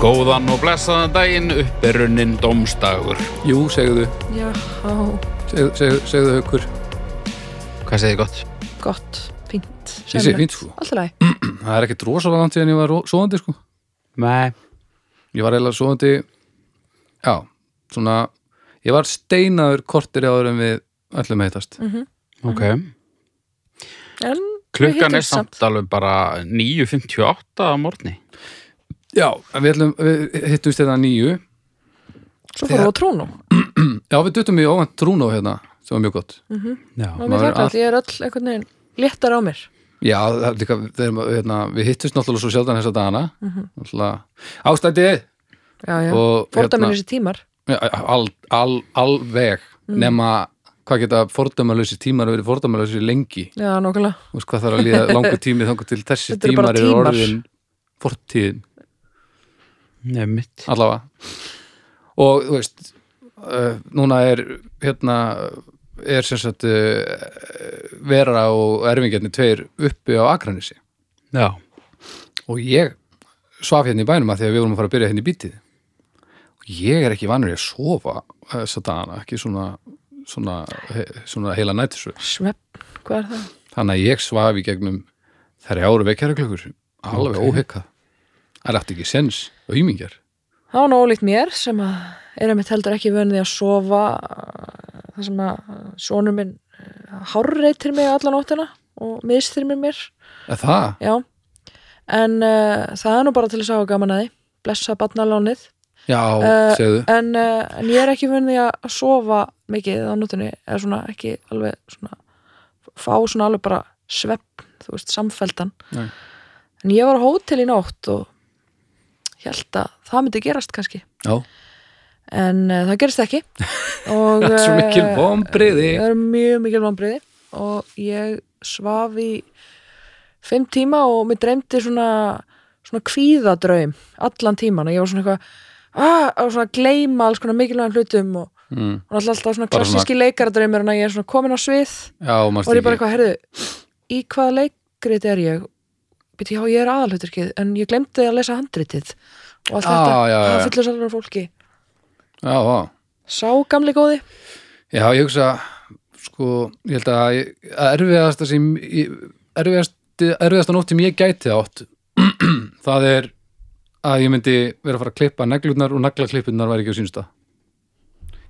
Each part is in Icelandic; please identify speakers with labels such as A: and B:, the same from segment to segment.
A: Góðan og blessaðan daginn uppberunnin domstagur.
B: Jú, segðu,
C: Já,
B: segðu, segðu, segðu haukur.
A: Hvað segir gott?
C: gott, fínt
B: Ég segi fínt sko.
C: Alltaf læg,
B: Það er ekkert rosalega langt síðan ég var ro- sofandi sko.
A: Nei.
B: Ég var eiginlega sofandi, já, svona, ég var steinaður kortir áður en við ætlum að heitast.
A: Ok.
C: en
A: Klukkan
C: hittumst
A: er samt alveg bara 9.58 að morgni.
B: Já, en við, ætlum, við hittumst þetta nýju.
C: Svo fórum við á trúnu
B: Já, við duttum í óvænt trúnó hérna, sem var mjög gott.
A: Já.
C: og
B: Maður
C: mér
B: er
C: þakka að ég er öll einhvern veginn léttar á mér
B: Já, það er líka, þegar, maður- hérna, við hittumst náttúrulega svo sjaldan þessa dagana. Náttúrulega, ástændið!
C: Já, já,
B: Og
C: fórdamin
B: hérna-
C: þessi tímar
B: Já, al, al, alveg nema hvað geta fordæmalösi tímar verið fordæmalösi lengi
C: Já, nokkulega
B: Þú veist hvað þarf að líða langur tími þangur til þessi
C: Þetta eru bara
B: tímar eru
C: tímar.
B: orðin fortíðin
A: Nei, mitt.
B: allavega og þú veist uh, núna er hérna er sem sagt uh, vera og erfingjarnir tveir uppi á Akranesi
A: Já.
B: og ég svaf hérna í bænum að því að við vorum að fara að byrja hérna í bítið og ég er ekki vanur í að sofa þess að dagana, ekki svona svona, he, svona heila nættisru
C: Svepp, hvað er það?
B: þannig að ég svaf í gegnum þærri áru vekkjara klukkur alveg okay. óhekkað það er eftir ekki sens og ímingjar
C: Það var nú ólíkt mér sem að er að mitt heldur ekki vönið að sofa uh, það sem að uh, sonur minn eh, hárreitir mig alla nóttina og mistrýmir mér
B: eða það,
C: Já, en uh, það er nú bara til þess að hafa gaman að því blessa barnalánið
B: já,
C: Eh,
B: segðu
C: en, uh, en ég er ekki vunni að sofa mikið á nótunni eða svona ekki alveg svona fá svona alveg bara svepp þú veist, samfeldan
B: Nei.
C: en ég var á hótel í nótt og held að það myndi gerast kannski
B: já,
C: en uh, það gerist ekki og
B: svo mikil
C: eh,
B: vonbriði
C: það eru mjög mikil vonbriði og ég svaf í fimm tíma og mér dreymdi svona, svona kvíðadraum allan tíman og ég var svona eitthvað ah, og svona að gleyma alls konar mikilvægum hlutum og,
B: mm.
C: og náttúrulega alltaf svona
B: Bara svona-
C: klassíski leikaradraumur en að ég er svona komin á svið
B: já,
C: og er
B: mannst
C: ég bara
B: ekki
C: eitthvað, herðu, í hvaða leikrit er ég? Býti, já, ég er aðalhuturkið en ég glemdi að lesa handritið og allt
B: Ah,
C: þetta,
B: já, já,
C: það
B: já.
C: fyllur sælur af fólki
B: já, já
C: Sá gamli góði?
B: Já, ég hugsa sko, ég held að ég- að erfiðasta sem ég- erfiðast, erfiðasta nótt sem ég gæti átt það er að ég myndi vera að fara að klippa neglurnar og naglaklippurnar væri ekki á sínsta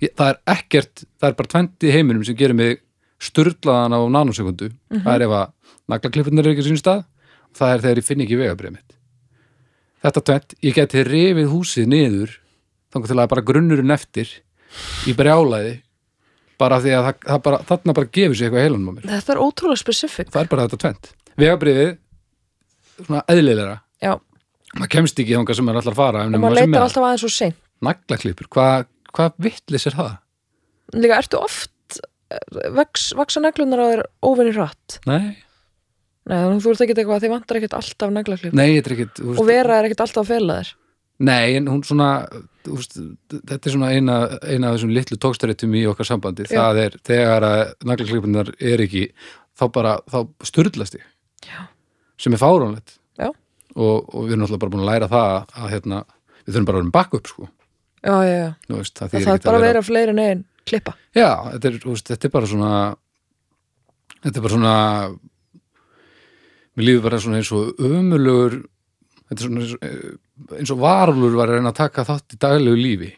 B: ég, það er ekkert það er bara 20 heiminum sem gerir mig sturlaðan á nanosekundu það er ef að naglaklippurnar er ekki á sínsta og það er þegar ég finn ekki vegabrið mitt þetta tvent, ég gæti rifið húsið niður þangar til að bara grunnurinn eftir í brjálæði bara af því að það, það bara, þarna bara gefur sér eitthvað í heilanum á mér
C: Þetta er ótrúlega spesifik
B: það er bara þetta tvent vegabriðið, svona eðlilega
C: Já,
B: maður kemst ekki þangað sem maður ætlar að fara
C: og maður leitar alltaf aðeins og seint
B: naglaklippur, hvað hva vittlis er það?
C: líka ertu oft eh, vex, vaksa neglunar á þér óvinni hratt
B: Nei,
C: Nei, þannig að þú ert ekkert eitthvað þið vantar ekkert alltaf neglaklip
B: nei, þetta er ekkit þú veist-
C: og vera er ekkert alltaf að fela þér
B: nei, en hún svona þú veist, þetta er svona eina, eina af þessum litlu tókstaréttum í okkar sambandi
C: Já.
B: það er þegar að naglaklippurnar er ekki þá bara, þá sturlast ég
C: Já.
B: sem er fáránlegt
C: Já.
B: og, og við erum alltaf bara búin að læra það að hérna, við þurfum bara að vera með bakk upp sko
C: Já, já, já,
B: Þú veist, það
C: það,
B: þýðir
C: það er
B: ekkert
C: bara að vera fleiri en einn klippa
B: Já, þetta er, þú veist, þetta er bara svona þetta er bara svona mér líður bara svona eins og ömulugur þetta er svona eins og- eins og varulur var að reyna að taka þátt í daglegu lífi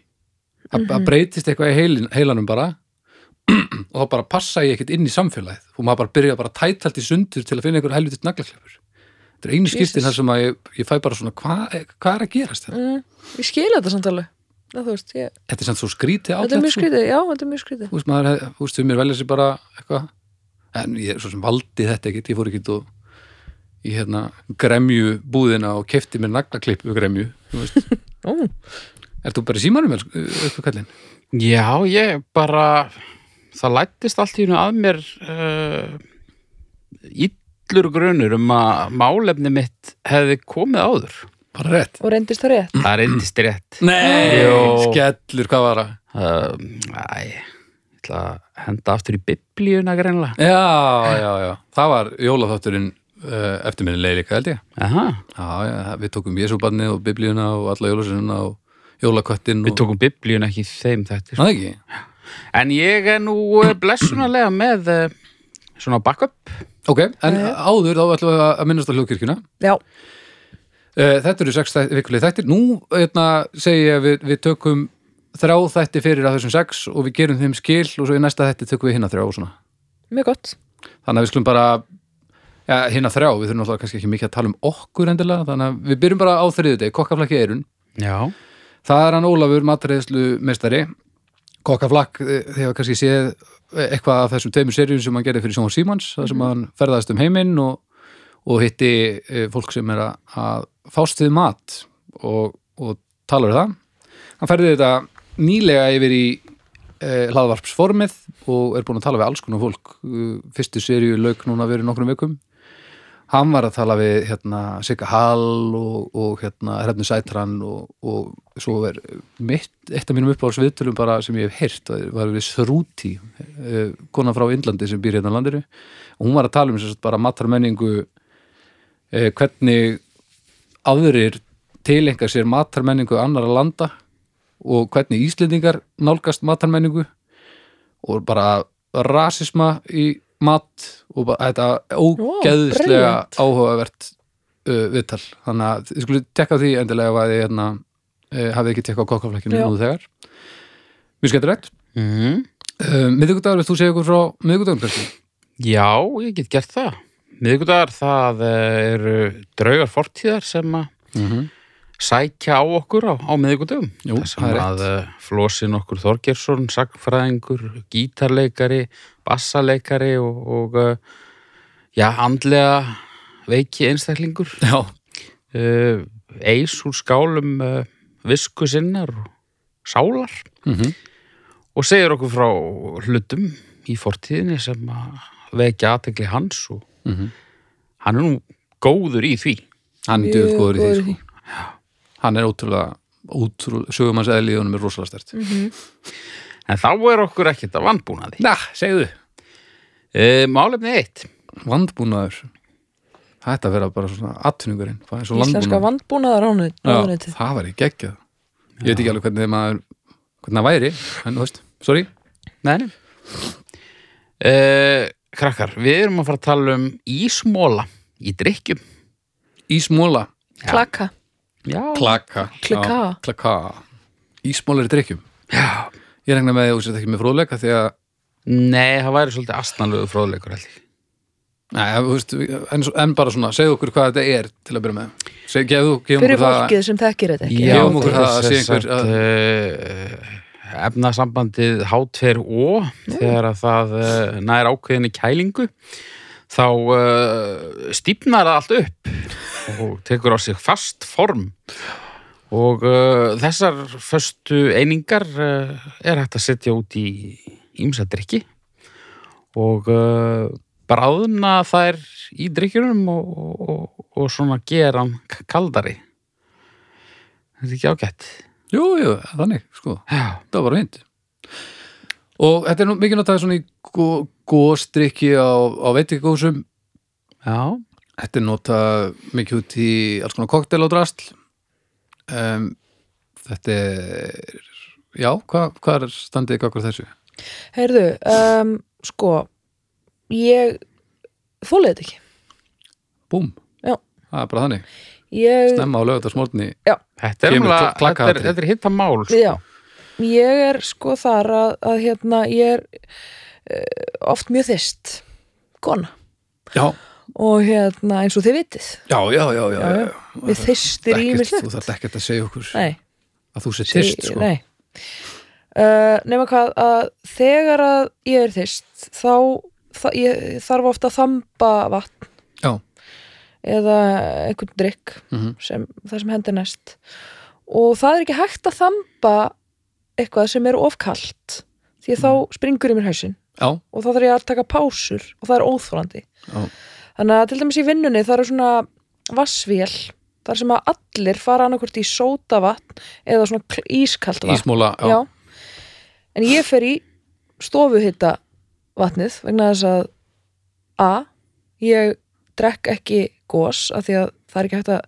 B: það
C: Mhm.
B: mm breytist eitthvað í heilin, heilanum bara og þá bara passa ég ekkert inn í samfélagið og maður bara byrja bara tætalt í sundur til að finna einhver helvitist naglakleifur þetta er einu skiptin
C: Jesus.
B: þar sem að ég, ég fæ bara svona hvað hva er að gerast þetta?
C: mm, Ég skil þetta samtali Já, þú veist, ég,
B: Þetta er samt svo skrítið sko. átt
C: þetta er mjög skrítið, já, þetta er mjög skrítið
B: þú veist, maður, hef- þú veist, mér velja sér bara eitthvað, en ég svo sem valdi þetta ekkert, ég fór ekkert og í hérna gremju búðina og kefti mér naglaklippu gremju þú veist,
C: Ó,
B: er þú bara í símanum eitthvað kallinn?
A: Já, ég bara, það lættist allt í húnu að mér uh, illur grunur um að málefni mitt hefði komið áður.
B: Bara rétt?
C: Og reyndist það rétt
A: Það reyndist rétt.
B: Nei!
A: Jó.
B: Skellur, hvað var það?
A: Uh, æ, ég ætla að henda aftur í biblíuna greinlega.
B: Eh. Já, já, já, það var jólaþátturinn uh, eftirminnilega líka held ég
A: Aha,
B: já, já, við tókum Jésúbarnið og biblíuna og alla jólasununa og jólaköttin
A: við
B: og...
A: tókum biblíun ekki í þeim þetta.
B: Ná, ekki?
A: En ég er nú eh, blessunarlega með eh, svona backup.
B: ok, en
C: Jæja.
B: áður þá ætlum við að minnast á hljóðkirkjuna
C: já,
B: Eh, Þetta eru sex þætt, vikulegi þættir. Nú eitna, segi ég að við, við tökum þrjá þætti fyrir að þessum sex og við gerum þeim skil og svo í næsta þætti tökum við hinna þrjá og svona.
C: mjög gott
B: Þannig að við skulum bara ja, hinna þrjá, við þurfum náttúrulega kannski ekki mikið að tala um okkur endilega, þannig að við byrjum bara á þriðudegi, kokkaflakki eirun.
A: Já.
B: Það er hann Ólafur matreiðslu meistari, kokkaflakk eh, þið hafa kannski séð eh, eitthvað af þessum tveimur serjum sem hann gerði fyrir Sjónvar Símans, þar sem hann ferðast um heiminn og, og hitti eh, fólk sem er að, að fást við mat og, og talar um það. Hann ferði þetta nýlega yfir í eh, hlaðvarpsformið og er búin að tala við alls konar fólk. Eh, Fyrstu seríu lauk núna verið nokkrum vikum. Hann var að tala við hérna, Sigga Hall og, og hérna, Hrefnu Sætran og, og svo er mitt, eitt af mínum uppáðs viðtölum bara sem ég hef heyrt það var við Sruti, eh, kona frá Indlandi sem býr hérna á landinu og hún var að tala um sem sagt, bara matarmenningu eh, hvernig aðrir tilenga sér matarmenningu annara landa og hvernig Íslendingar nálgast matarmenningu og bara rasisma í mat og bara þetta ógeðslega
C: brilliant.
B: áhugavert uh, viðtal þannig að þið skulle tekka á því endilega ef að þið hérna, uh, hafið ekki tekka á kokkaflækjunum
C: Já.
B: nú þegar mjög skemmtilegt
A: Mm.
B: uh, miðvikudagur, vilt þú segja okkur frá miðvikudagum kannski?
A: Já, ég get gert það. Miðgudagar, það eh, eru draugar fortíðar sem að
B: Mm -hmm.
A: sækja á okkur á, á miðvikudöfum
B: Jú,
A: þar sem
B: það er
A: að eh, flosin okkur Þorgjersson, sagfræðingur, gítarleikari bassaleikari og, og eh, já, andlega veiki einstaklingur
B: Já,
A: uh, eis úr skálum uh, visku sinnar og sálar
B: mm
A: og segir okkur frá hlutum í fortíðinni sem að vekja aðtegli hans og
B: Mhm.
A: hann er nú góður í því
B: hann er
C: Mjög
B: djöfull góður í því
C: góður í
B: sko. hann er ótrúlega, ótrúlega sögum hans eðli í honum er rosalega stert
C: Mhm.
B: mm.
A: en þá er okkur ekkert að vannbúnaði
B: Na, segðu
A: uh, Málefni eitt
B: Vandbúnaður Það ætti að vera bara svona atvinningurinn Það er svo
C: íslenska
B: landbúnaður
C: vandbúnaðar
B: Já,
C: ráðuniti
B: Það var í geggjað Ég veit ekki alveg hvernig maður hvernig það væri, en þú veist, sorry
A: Nei, nei. Eh, krakkar, við erum að fara að tala um ísmóla í drikkjum.
B: Ísmóla
C: klaka,
A: Já.
B: Klaka
C: Klaka.
B: Já, Klaka Ísmóla er í drikkjum
A: Já.
B: Ég regna með því að þú sért ekki með fróðleika því að
A: Nei, það væri svolítið astnalögu fróðleikur held ég.
B: Nei, þú veist, en, en bara svona, segðu okkur hvað þetta er til að byrja með. Seg, gefðu, gefum
C: fyrir
B: okkur það-
C: fólkið sem þekkir þetta ekki
B: Gefum okkur það að sé
A: þess
B: einhver
A: að, eh, efnasambandið H2O þegar að það uh, nær ákveðinni kælingu þá uh, stýpnar það allt upp og tekur á sig fast form og uh, þessar föstu einingar uh, er hægt að setja út í ímsa drikki og uh, bráðna þær í drikkjunum og, og, og svona gera hann k- kaldari þetta er ekki ágætt
B: Jú, jú, þannig, sko,
A: Já,
B: það var fint Og þetta er nú mikið notað svona í góstrykki á, á veitingagósum
A: já,
B: Þetta er notað mikið út í alls konar koktel og drasl um, Þetta er, já, hva, hvað er standið ykkur þessu?
C: heyrðu, um, sko ég þólið þetta ekki
B: Búm,
C: Já.
B: það er bara þannig
C: ég,
B: Stemma á lögatarsmórni
A: þetta er,
B: Kemur
A: umlega,
B: kla- klakka
A: þetta er,
B: atriði.
A: þetta er hitta mál sko.
C: já ég er sko þar að, að hérna, ég er uh, oft mjög þyst kona
B: Já,
C: og hérna eins og þið vitið
B: já, já, já, já,
C: Já, já. við þystir í mig
B: Ekkert, Þú þarft ekkert að segja okkur
C: nei,
B: að þú sér
C: segi-
B: tist, sko
C: nei. Uh, nema hvað að þegar að ég er þyst þá þa ég þarf ofta að þamba vatn
B: Já,
C: eða einhvern drikk
B: Mhm.
C: sem, það sem hendur næst og það er ekki hægt að þamba eitthvað sem er ofkalt því að
B: Mhm.
C: þá springur í mér hausinn
B: já,
C: og þá þarf ég að taka pásur og það er óþólandi
B: Já.
C: þannig að til dæmis í vinnunni það eru svona vassvél þar sem að allir fara annarkvort í sótavatn eða svona kl- ískalt vatn
B: ísmóla, já,
C: já. en ég fer í stofuhitta vatnið vegna þess að a, ég drekk ekki gos af því að það er ekki hægt að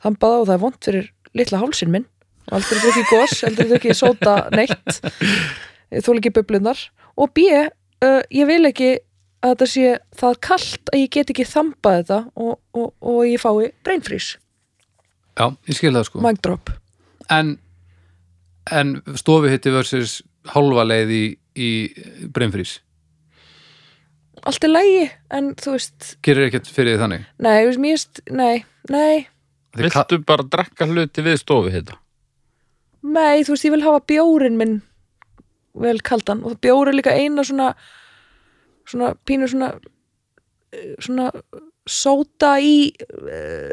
C: þamba það og það er vond fyrir litla hálsin minn og aldrei drukki gos, aldrei drukki sóta neitt þú ekki bublunar og B, uh, ég vil ekki að þetta sé það kalt að ég get ekki þambað þetta og, og, og ég fái brain freeze,
B: já, ég skil það sko
C: mic drop
B: en, en stofuhitti versus hálfa leið í, í breymfrís
C: allt er lægi, en þú veist
B: gerir ekkert fyrir því þannig
C: nei, þú veist, mér veist, nei, nei
B: Því ka-
A: Viltu bara drekka hluti við stofu hérna? þetta?
C: Nei, þú veist, ég vil hafa bjórin minn vel kaldan og bjór er líka eina svona svona pínu svona eh, svona sóta í uh,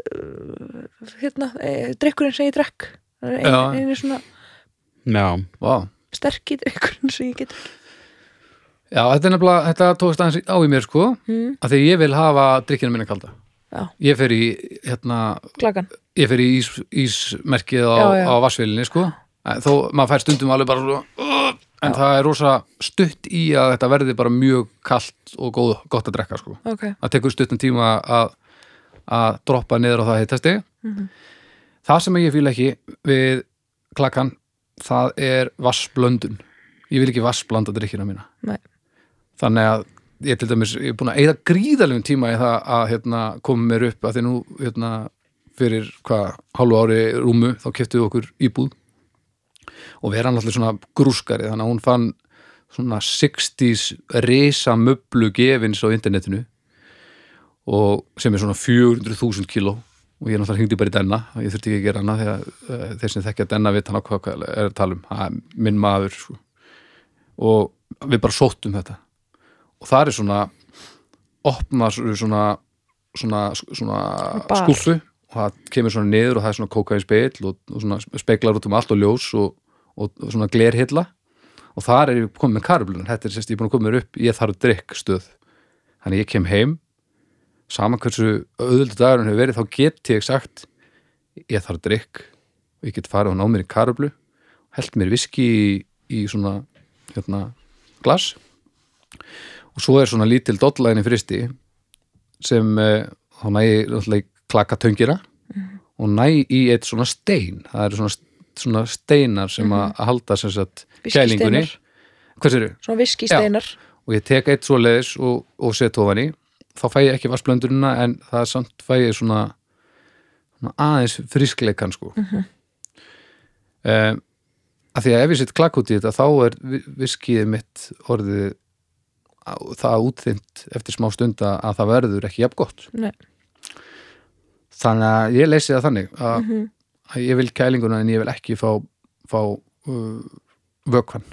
C: hérna, uh, drikkurinn sem ég drekk Það er
B: Já.
C: ein, einu svona
A: Já,
B: Vá.
C: sterki drikkurinn sem ég get
B: já, þetta er nefnilega, þetta tókst aðeins á í mér sko
C: mm,
B: að því ég vil hafa drikkinu minna kalda
C: Já.
B: ég fer í hérna,
C: klagan,
B: ég fer í ís, ísmerkið á,
C: Já, já.
B: á vassvélinni sko En þó maður fær stundum alveg bara svo, "Ugh", en það er rosa stutt í að þetta verði bara mjög kalt og góð, gott að drekka sko
C: ok
B: það tekur stuttan tíma að, að droppa niður á það hittasti
C: Mhm.
B: það sem ég fíla ekki við klakkan það er vassblöndun ég vil ekki vassblanda drikkina mína
C: Nei.
B: þannig að ég til dæmis ég er búin að eigða gríðalegum tíma í það að hérna, koma mér upp að því nú hérna, fyrir hvað hálfu ári rúmu þá keftuðu okkur íbúð og vera hann allir svona grúskari þannig að hún fann svona 60s risa möblu gefins á internetinu og sem er svona 400.000 kíló og ég náttúrulega hringdi bara í denna ég þurfti ekki að gera hana þegar uh, þeir sem þekkja denna vita hann á hvað hvað er að tala um ha, minn maður sko. og við bara sóttum þetta og það er svona opna svona svona, svona, svona
C: Bar.
B: skúffu og það kemur svona niður og það er svona kóka í spegl og, og svona speglar út um allt og ljós og, og, og svona glerhilla og þar er ég komið með karflunar þetta er sérst ég er búin að koma mér upp, ég þarf drikk stöð þannig ég kem heim saman hversu auðvöldu dagurinn hefur verið þá get ég sagt ég þarf drikk og ég get farið og ná mér í karablu held mér viski í, í svona hérna, glas og svo er svona lítil dollaðin í fristi sem eh, þá næ ég náttúrulega í klakatöngina og næ í eitt svona stein það eru svona, svona steinar sem að halda sem sagt kælingunni
C: Viskisteinar.
B: hvers eru?
C: svona viskisteinar
B: og ég tek eitt svoleiðis og, og set ofan í þá fæ ég ekki vassblöndurina en það er samt fæ ég svona, svona aðeins friskleikan sko mm
C: Mhm.
B: að því að ef ég set klakk út í þetta þá er vi- viskið mitt orðið á- það útþymt eftir smá stund að að það verður ekki jafn gott
C: Nei.
B: þannig að ég leysi það þannig að,
C: Mhm.
B: að ég vil kælinguna en ég vil ekki fá, fá uh, vökvann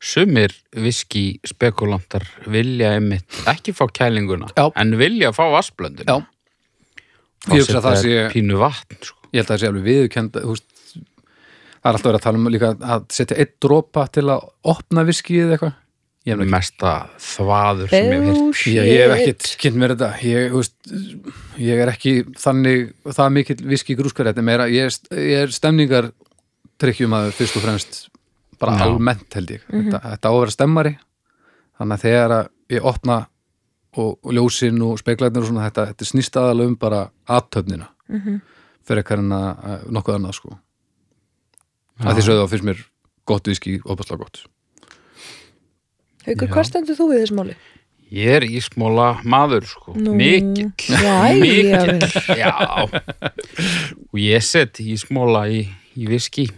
A: sumir viski spekulantar vilja einmitt ekki fá kælinguna
B: Já.
A: en vilja fá vassblöndina
B: Já. Ég hugsa að það sé-
A: pínu vatn sko.
B: ég held að það sé alveg viðurkend það er alltaf verið að tala um líka að setja eitt dropa til að opna viskið eða eitthvað ég hef nú
A: mesta þvaður sem ég hef heyrt
B: ekki,
C: Bullshit.
B: ég, ég hef ekkit kynnt mér þetta ég, þú veist, ég er ekki þannig það mikill viski grúskar þetta er meira, ég, er st- ég er stemningar trykkjumaður fyrst og fremst bara
A: Já.
B: almennt held ég þetta, þetta á að vera stemmari þannig að þegar að ég opna og, og ljósin og speglarnir og svona þetta, þetta snýst aðalega um bara aðtöfnina
C: Mhm.
B: fyrir ekkar en að að nokkuð annað sko
A: Já.
B: að því sögðu þá finnst mér gott viski opaslega gott
C: Haukur,
A: Já.
C: hvað stendur þú við þessu máli?
A: ég er ísmóla maður sko.
C: Nú.
A: mikill
C: Jæja,
A: mikill já. og ég set ísmóla í, í viski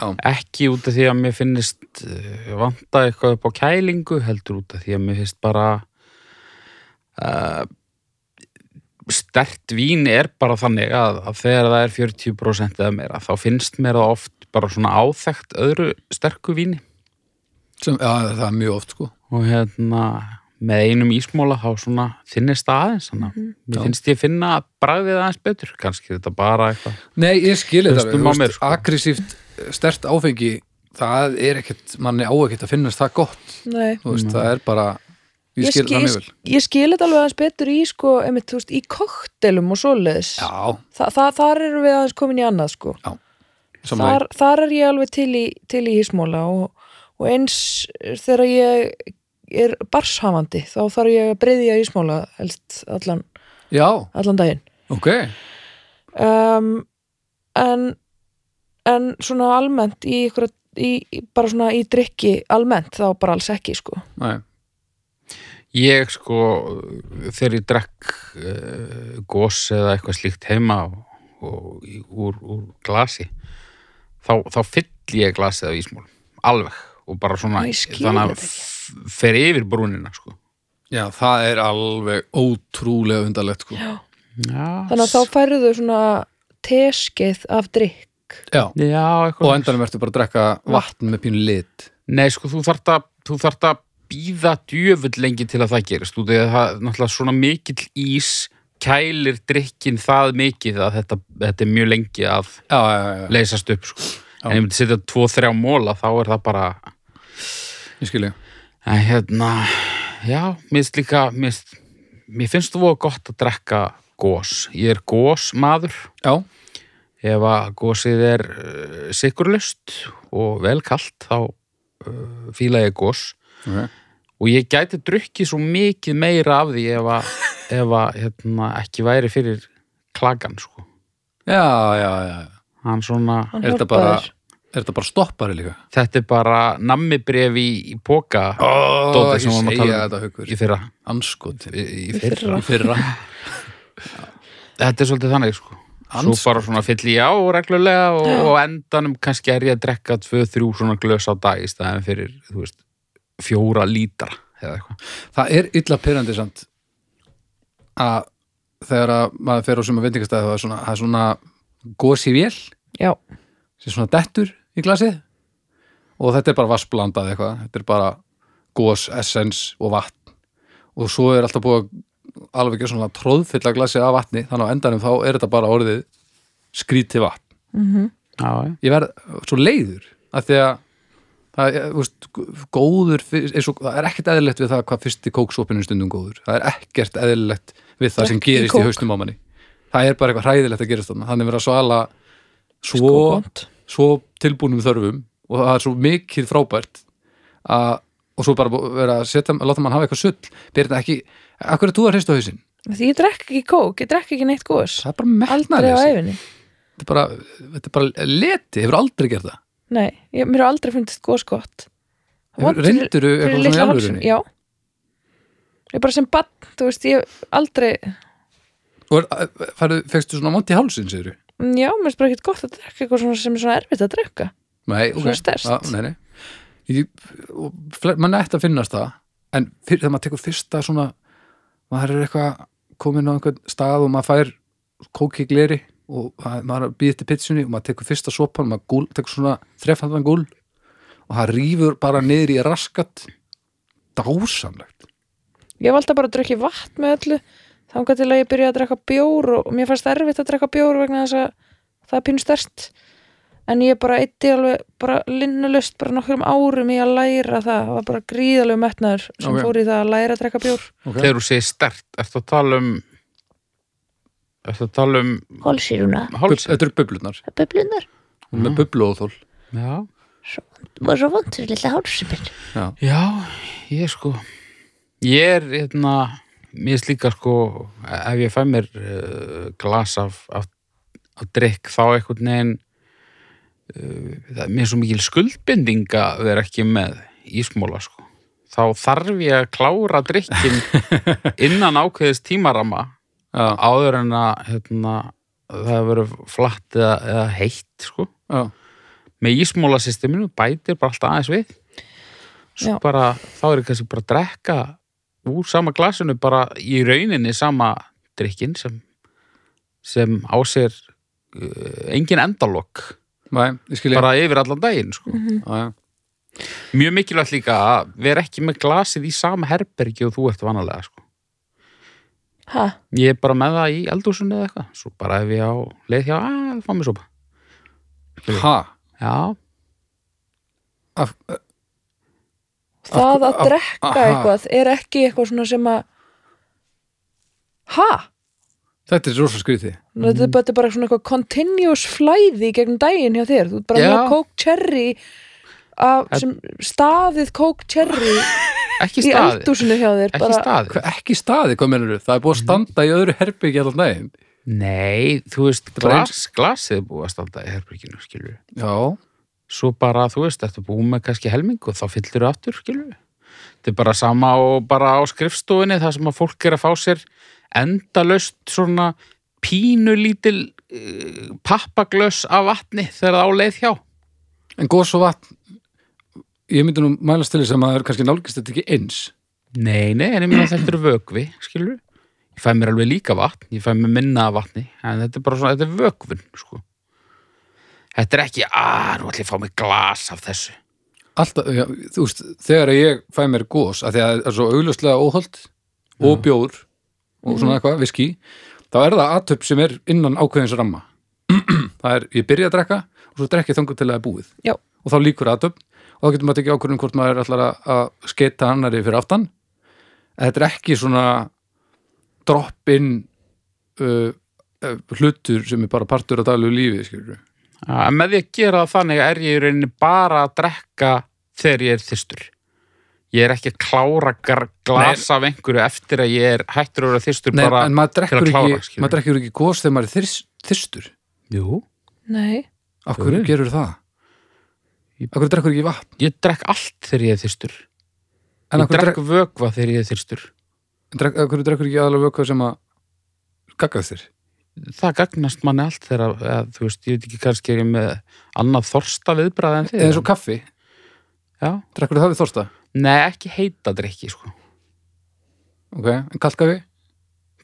B: Já.
A: ekki út af því að mér finnist eh, vanta eitthvað upp á kælingu heldur út af því að mér finnst bara uh, stert vín er bara þannig að, að þegar það er 40% eða meira þá finnst mér það oft bara svona áþekkt öðru sterku víni
B: Sem, já, það er mjög oft sko
A: og hérna með einum ísmóla þá svona þinnist það aðeins þannig að
C: Mhm.
A: mér
B: Já.
A: finnst ég finna bragðið aðeins betur kannski er þetta bara eitthvað
B: Nei, ég skil þetta
A: Hlustum
B: alveg,
A: á
B: þú veist,
A: mér, sko.
B: Aggressíft stert áfengi það er ekkert, manni á ekkert að finnast það gott
C: Nei
B: þú veist, það er bara ég skil það mjög vel
C: ég skil þetta alveg aðeins betur í sko, einmitt, þú veist, í koktelum og svoleiðis
B: Já,
C: Þa, þa, þar erum við aðeins komin í annað sko.
B: samanlega
C: þar, þar er ég alveg til í, til í hísmóla og, og eins þegar ég er barshafandi þá þarf ég að breyðja ísmála helst allan,
B: já,
C: allan daginn
B: ok
C: um, en en svona almennt í, ykkur, í, í bara svona í drikki almennt þá bara alls ekki sko
B: Nei.
A: Ég sko, þegar ég drakk uh, gos eða eitthvað slíkt heima og, og í- úr, úr glasi, þá, þá fyll ég glasið af ísmól, alveg og bara svona,
C: Ég skil
A: þannig að
C: þetta
A: f- fer yfir brúnina sko.
B: já, það er alveg ótrúlega undarlegt sko. já.
A: Já,
C: þannig að þá færðu þau svona teskeið af drikk
A: Já, eitthvað.
B: og á endanum ertu bara að drekka vatn með pínu lit
A: Nei, sko, þú þart að, þú þart að býða djöfull lengi til að það gerist út af því að það, náttúrulega svona mikill ís kælir drikkin það mikið að þetta, þetta er mjög lengi að
B: já, já, já, já,
A: leysast upp sko. en ég myndi setja tvo, þrjá móla þá er það bara
B: ég skilji
A: en hérna, já, minnst líka minnst, mér finnst þú voða gott að drekka gós, ég er gós maður
B: já,
A: ef að gósið er uh, sikurlust og vel kalt þá uh, fíla ég gós
B: ok
A: og ég gæti drukkið svo mikið meira af því ef að, ef að hérna, ekki væri fyrir klagan sko.
B: já, já, já, já.
A: hann svona,
C: Hann
B: Er þetta
C: hjálpar
B: bara-
C: þér.
B: er þetta bara stoppari líka
A: þetta er bara nammibref í, í póka
B: oh,
A: Dótið sem
B: ég
A: við vorum að
B: segja
A: tala um.
B: þetta haukur
A: í fyrra
B: anskot
A: í, í
C: Í fyrra.
B: í fyrra
A: þetta er svolítið þannig sko svo
B: Andskot.
A: bara svona fyll ég á reglulega og, og á endanum kannski er ég að drekka tvö, þrjú svona glös á dag í staðan fyrir, þú veist, fjóra lítra eða eitthvað.
B: það er illa pyrrandi samt að þegar að maður fer á suma veitingastæði það er svona, það er svona gósi vél
C: já,
B: sem svona dettur í glasið og þetta er bara vassblandað eitthvað þetta er bara gós, essens og vatn og svo er alltaf búið að alveg ekki svona tróðfylla glasið af vatni þannig á endanum þá er þetta bara orðið skrítið vatn
C: Mhm.
A: Já, já.
B: ég verð svo leiður að því að það er, þú veist, góður fyr- er svo, það er ekkert eðlilegt við það hvað fyrsti kóksopinu stundum góður það er ekkert eðlilegt við það sem
C: Drekk í
B: gerist í
C: kók.
B: haustum á manni það er bara eitthvað hræðilegt að gerast þarna þannig verið að svala svo,
C: skókont
B: svo tilbúnum þörfum og það er svo mikið frábært að, og svo bara bú- vera að setja, láta mann hafa eitthvað sull Birna ekki, akkur er þú að hrista hausinn
C: því ég drekk ekki kók, ég drekk ekki neitt gós
B: það er bara
C: aldrei á
B: metnaðleysi
C: æfinni
B: þetta er bara, þetta er bara leti, hefur aldrei gert það
C: nei, ég, mér hefur aldrei fundist gós gott Vont fyrir-
B: reyndur
C: fyrir
B: eitthvað svona í
C: litla hálsinn,
B: alvörunni
C: já ég bara sem bann, þú veist, ég hef aldrei
B: Og er- færðu, fegstu svona mont í hálsinn, segirðu?
C: Mm, já, mér finnst bara ekkert gott að drekka eitthvað svona sem er svona erfitt að drekka
B: Nei,
C: Svona sterkt.
B: Ah, nei, nei. Ég, og fle- mann ætti að finnast það, en fyrir, þegar maður tekur fyrsta svona, maður er eitthvað komin á einhvern stað og maður fær kóki gleri og það- maður er að býða til pitsunni og maður tekur fyrsta sopan, maður gúl, tekur svona þrefaldan gúl og það rýfur bara niður í raskat dásamlegt.
C: ég hef alltaf bara að drekja vatn með öllu þangað til að ég byrja að drekka bjór og og mér fannst erfitt að drekka bjór vegna þess að það er pínu stærst en ég bara eitti alveg bara linnulust bara nokkrum árum í að læra það það var bara gríðalegu metnaður sem
B: Ok.
C: fór í það að læra að drekka bjór
B: Okay.
A: Þegar þú segir stert, ertu að tala um ertu að tala um
D: Hálsiruna,
A: hálsinn? Mhm.
B: Þetta eru bublunar,
D: bublunar,
B: hún er með bublu og þól.
A: Já.
D: var svo vond fyrir lilla hálsir minn.
A: Já, ég sko ég er hérna mér er slíka sko ef ég fæ mér uh, glas af, af, af drikk þá einhvern veginn uh, það er mér er svo mikil skuldbindinga að vera ekki með ísmóla sko þá þarf ég að klára drikkin innan ákveðis tímarama
B: Já,
A: áður en að hérna, það verður flatt eða, eða heitt sko.
B: já.
A: með ísmóla systeminu bætir bara alltaf aðeins við svo
C: Já.
A: bara þá er ég kannski bara að drekka úr sama glasinu bara í rauninni sama drikkin sem, sem á sér uh, engin endalok
B: Nei, ég skilja.
A: bara yfir allan daginn sko.
C: Mm.
B: já, já.
A: mjög mikilvægt líka að vera ekki með glasið í sama herbergi og þú ert vanalega sko.
C: ha,
A: Ég er bara með það í eldhúsinu eða eitthvað Svo bara ef ég á leið hjá að fá mér sopa
B: Ha?
A: Já,
B: Af,
C: það að
B: af-
C: drekka
B: aha.
C: eitthvað er ekki eitthvað svona sem að ha,
B: þetta er rosa skrítið.
C: Þetta er bara- þetta er bara svona eitthvað continuous flæði í gegnum daginn hjá þér. Þú ert bara
A: Já.
C: með kók cherry af, sem staðið kók cherry
A: ekki
C: í
A: staði
C: eldúsinu hjá þér
A: ekki
C: bara,
A: staði
B: Hva, ekki staði, hvað mennur þú? Það er búið að standa í öðru herbyggja allan daginn.
A: nei, þú veist,
B: bara
A: glas, glasið er búið að standa í herbygginu, skilur
B: Já,
A: svo bara, þú veist, ertu búið með kannski helming og þá fyllir þú aftur, skilur þetta er bara sama og bara á skrifstofinni það sem að fólk er að fá sér endalaust svona pínulítil uh, pappaglöss af vatni þegar það á leið hjá
B: en gos og vatn, ég myndi nú mælast til þess að maður kannski nálgist þetta ekki eins.
A: Nei, nei, en ég meina þetta eru vökvi, skilur Ég fæ mér alveg líka vatn, ég fæ mér minna af vatni En þetta er bara svona, þetta er vökvun, sko Þetta er ekki, að, nú ætlum ég að fá mig glas af þessu
B: Alltaf, já, þú veist, þegar ég fæ mér gos, að því að það er svo augljóslega óholt og
A: Mhm.
B: bjór og svona eitthvað, viski, þá er það aðtöp sem er innan ákveðins ramma. það er, ég byrja að drekka og svo drekki þangum til að það er búið.
C: Já.
B: Og þá líkur aðtöp og þá getur maður tekið ákvörðum hvort maður er allar að skeita annari fyrir aftan. En Þetta er ekki svona drop-in uh, uh, hlutur sem er bara partur að daglegu lífi, skilur við.
A: ja, En með því að gera það þannig er ég í rauninni bara að drekka þegar ég er þyrstur Ég er ekki að klára gar- glas af einhverju eftir að ég er hættur að vera þyrstur
B: Nei,
A: bara
B: en maður
A: að
B: drekkur,
A: klára,
B: ekki,
A: skilur.
B: maður drekkur ekki gos þegar maður er þyrst, þyrstur.
A: Jú,
C: nei,
B: Af hverju
A: Jú.
B: gerur það?
A: Ég-
B: Af hverju drekkur ekki vatn?
A: ég drekk allt þegar ég er þyrstur
B: En af
A: Ég
B: hverju,
A: drekk
B: drekk...
A: vökva þegar ég er þyrstur
B: Drek, af hverju drekkur ekki aðalega vökvað sem að gaggað þér?
A: það gagnast manni allt þegar að, að, þú veist, ég veit ekki kannski er ég með annað þorsta viðbræð en þið
B: Eða eins og kaffi,
A: Já.
B: drekkur það við þorsta?
A: Nei, ekki heita drikki, sko
B: Ok, en kalt kaffi,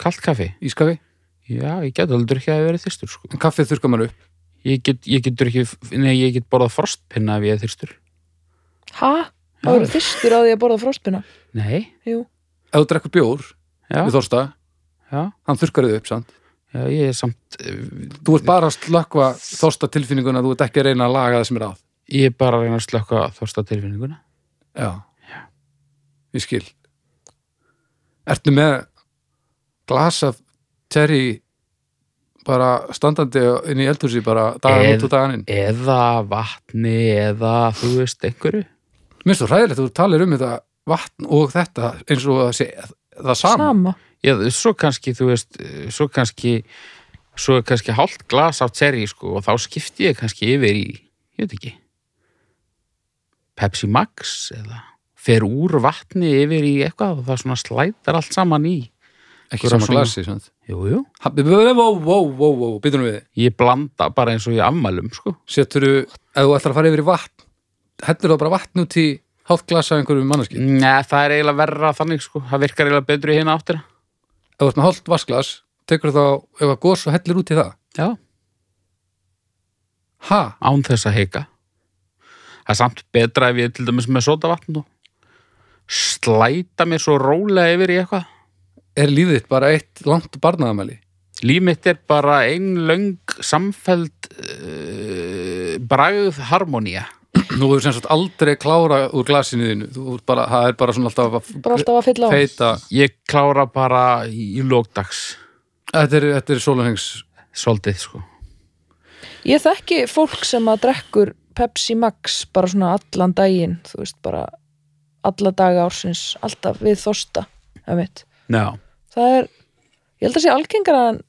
A: Kalt kaffi,
B: ískafi,
A: já, ég get alveg drukkið að vera þyrstur, sko
B: en kaffið þurrkar maður upp.
A: Ég get, ég get drukkið, nei, ég get borðað frostpinna ef ég er þyrstur
C: ha? Það voru fyrstur á því að borða fróspina
A: Nei,
C: Jú,
B: Ef þú drekkur bjór
A: já,
B: við þorsta,
A: já,
B: hann þurrkar þið upp, sant?
A: já, ég er samt eh,
B: Þú ert bara að slökva þorsta tilfinninguna, þú ert ekki að reyna að laga það sem er að.
A: Ég er bara að reyna að slökka þorsta tilfinninguna
B: Já. Ég skil. Ertu með glas af terri bara standandi inn í eldhúsi bara dagan
A: Eð-
B: út og dagan inn?
A: Eða vatni, eða, þú veist, einhverju
B: Mér finnst þú hræðilegt að þú talir um þetta vatn og þetta eins og það sé það sama.
C: sama
A: Já, svo kannski, þú veist, eh, svo kannski, svo er kannski hálft glas af terri, sko, og þá skipti ég kannski yfir í, ég veit ekki, Pepsi Max eða fer úr vatni yfir í eitthvað og það svona slætar allt saman í.
B: Ekki
A: Sama
B: sama glasi, sant?
A: Jú, jú.
B: Ha- bí- bí- bí- Vó, vó, vó, vó, býtum við.
A: Ég blanda bara eins og ég afmælum, sko.
B: Setur þú, ef þú ætlar að fara yfir í vatn, heldur þú bara vatn út í hálft glasa einhverju manneski.
A: Nei, það er eiginlega verra þannig, sko. Það virkar eiginlega betur í hérna áttina.
B: Ef þú ert með hálft vasklas, tekur þú þá ef að gos og hellir út í það.
A: Já.
B: Ha?
A: Án þess að heika. Það er samt betra ef ég til dæmis með sodavatn og slæta mér svo rólega yfir í eitthvað.
B: Er lífið þitt bara eitt langt barnaðamæli?
A: Líf mitt er bara ein löng samfæld uh, bragð harmonía.
B: Nú er sem sagt aldrei klára úr glasinu þínu. Þú ert bara, það er bara svona alltaf að
C: bara alltaf að fylla á
B: feita.
A: Ég klára bara í, í lókdags
B: Þetta er, þetta er sólanhengs.
A: svolítið sko.
C: Ég þekki fólk sem að drekkur Pepsi Max bara svona allan daginn, þú veist bara alla daga ársins, alltaf við þorsta, það mitt.
A: Já.
C: Það er, ég held að sé algengara en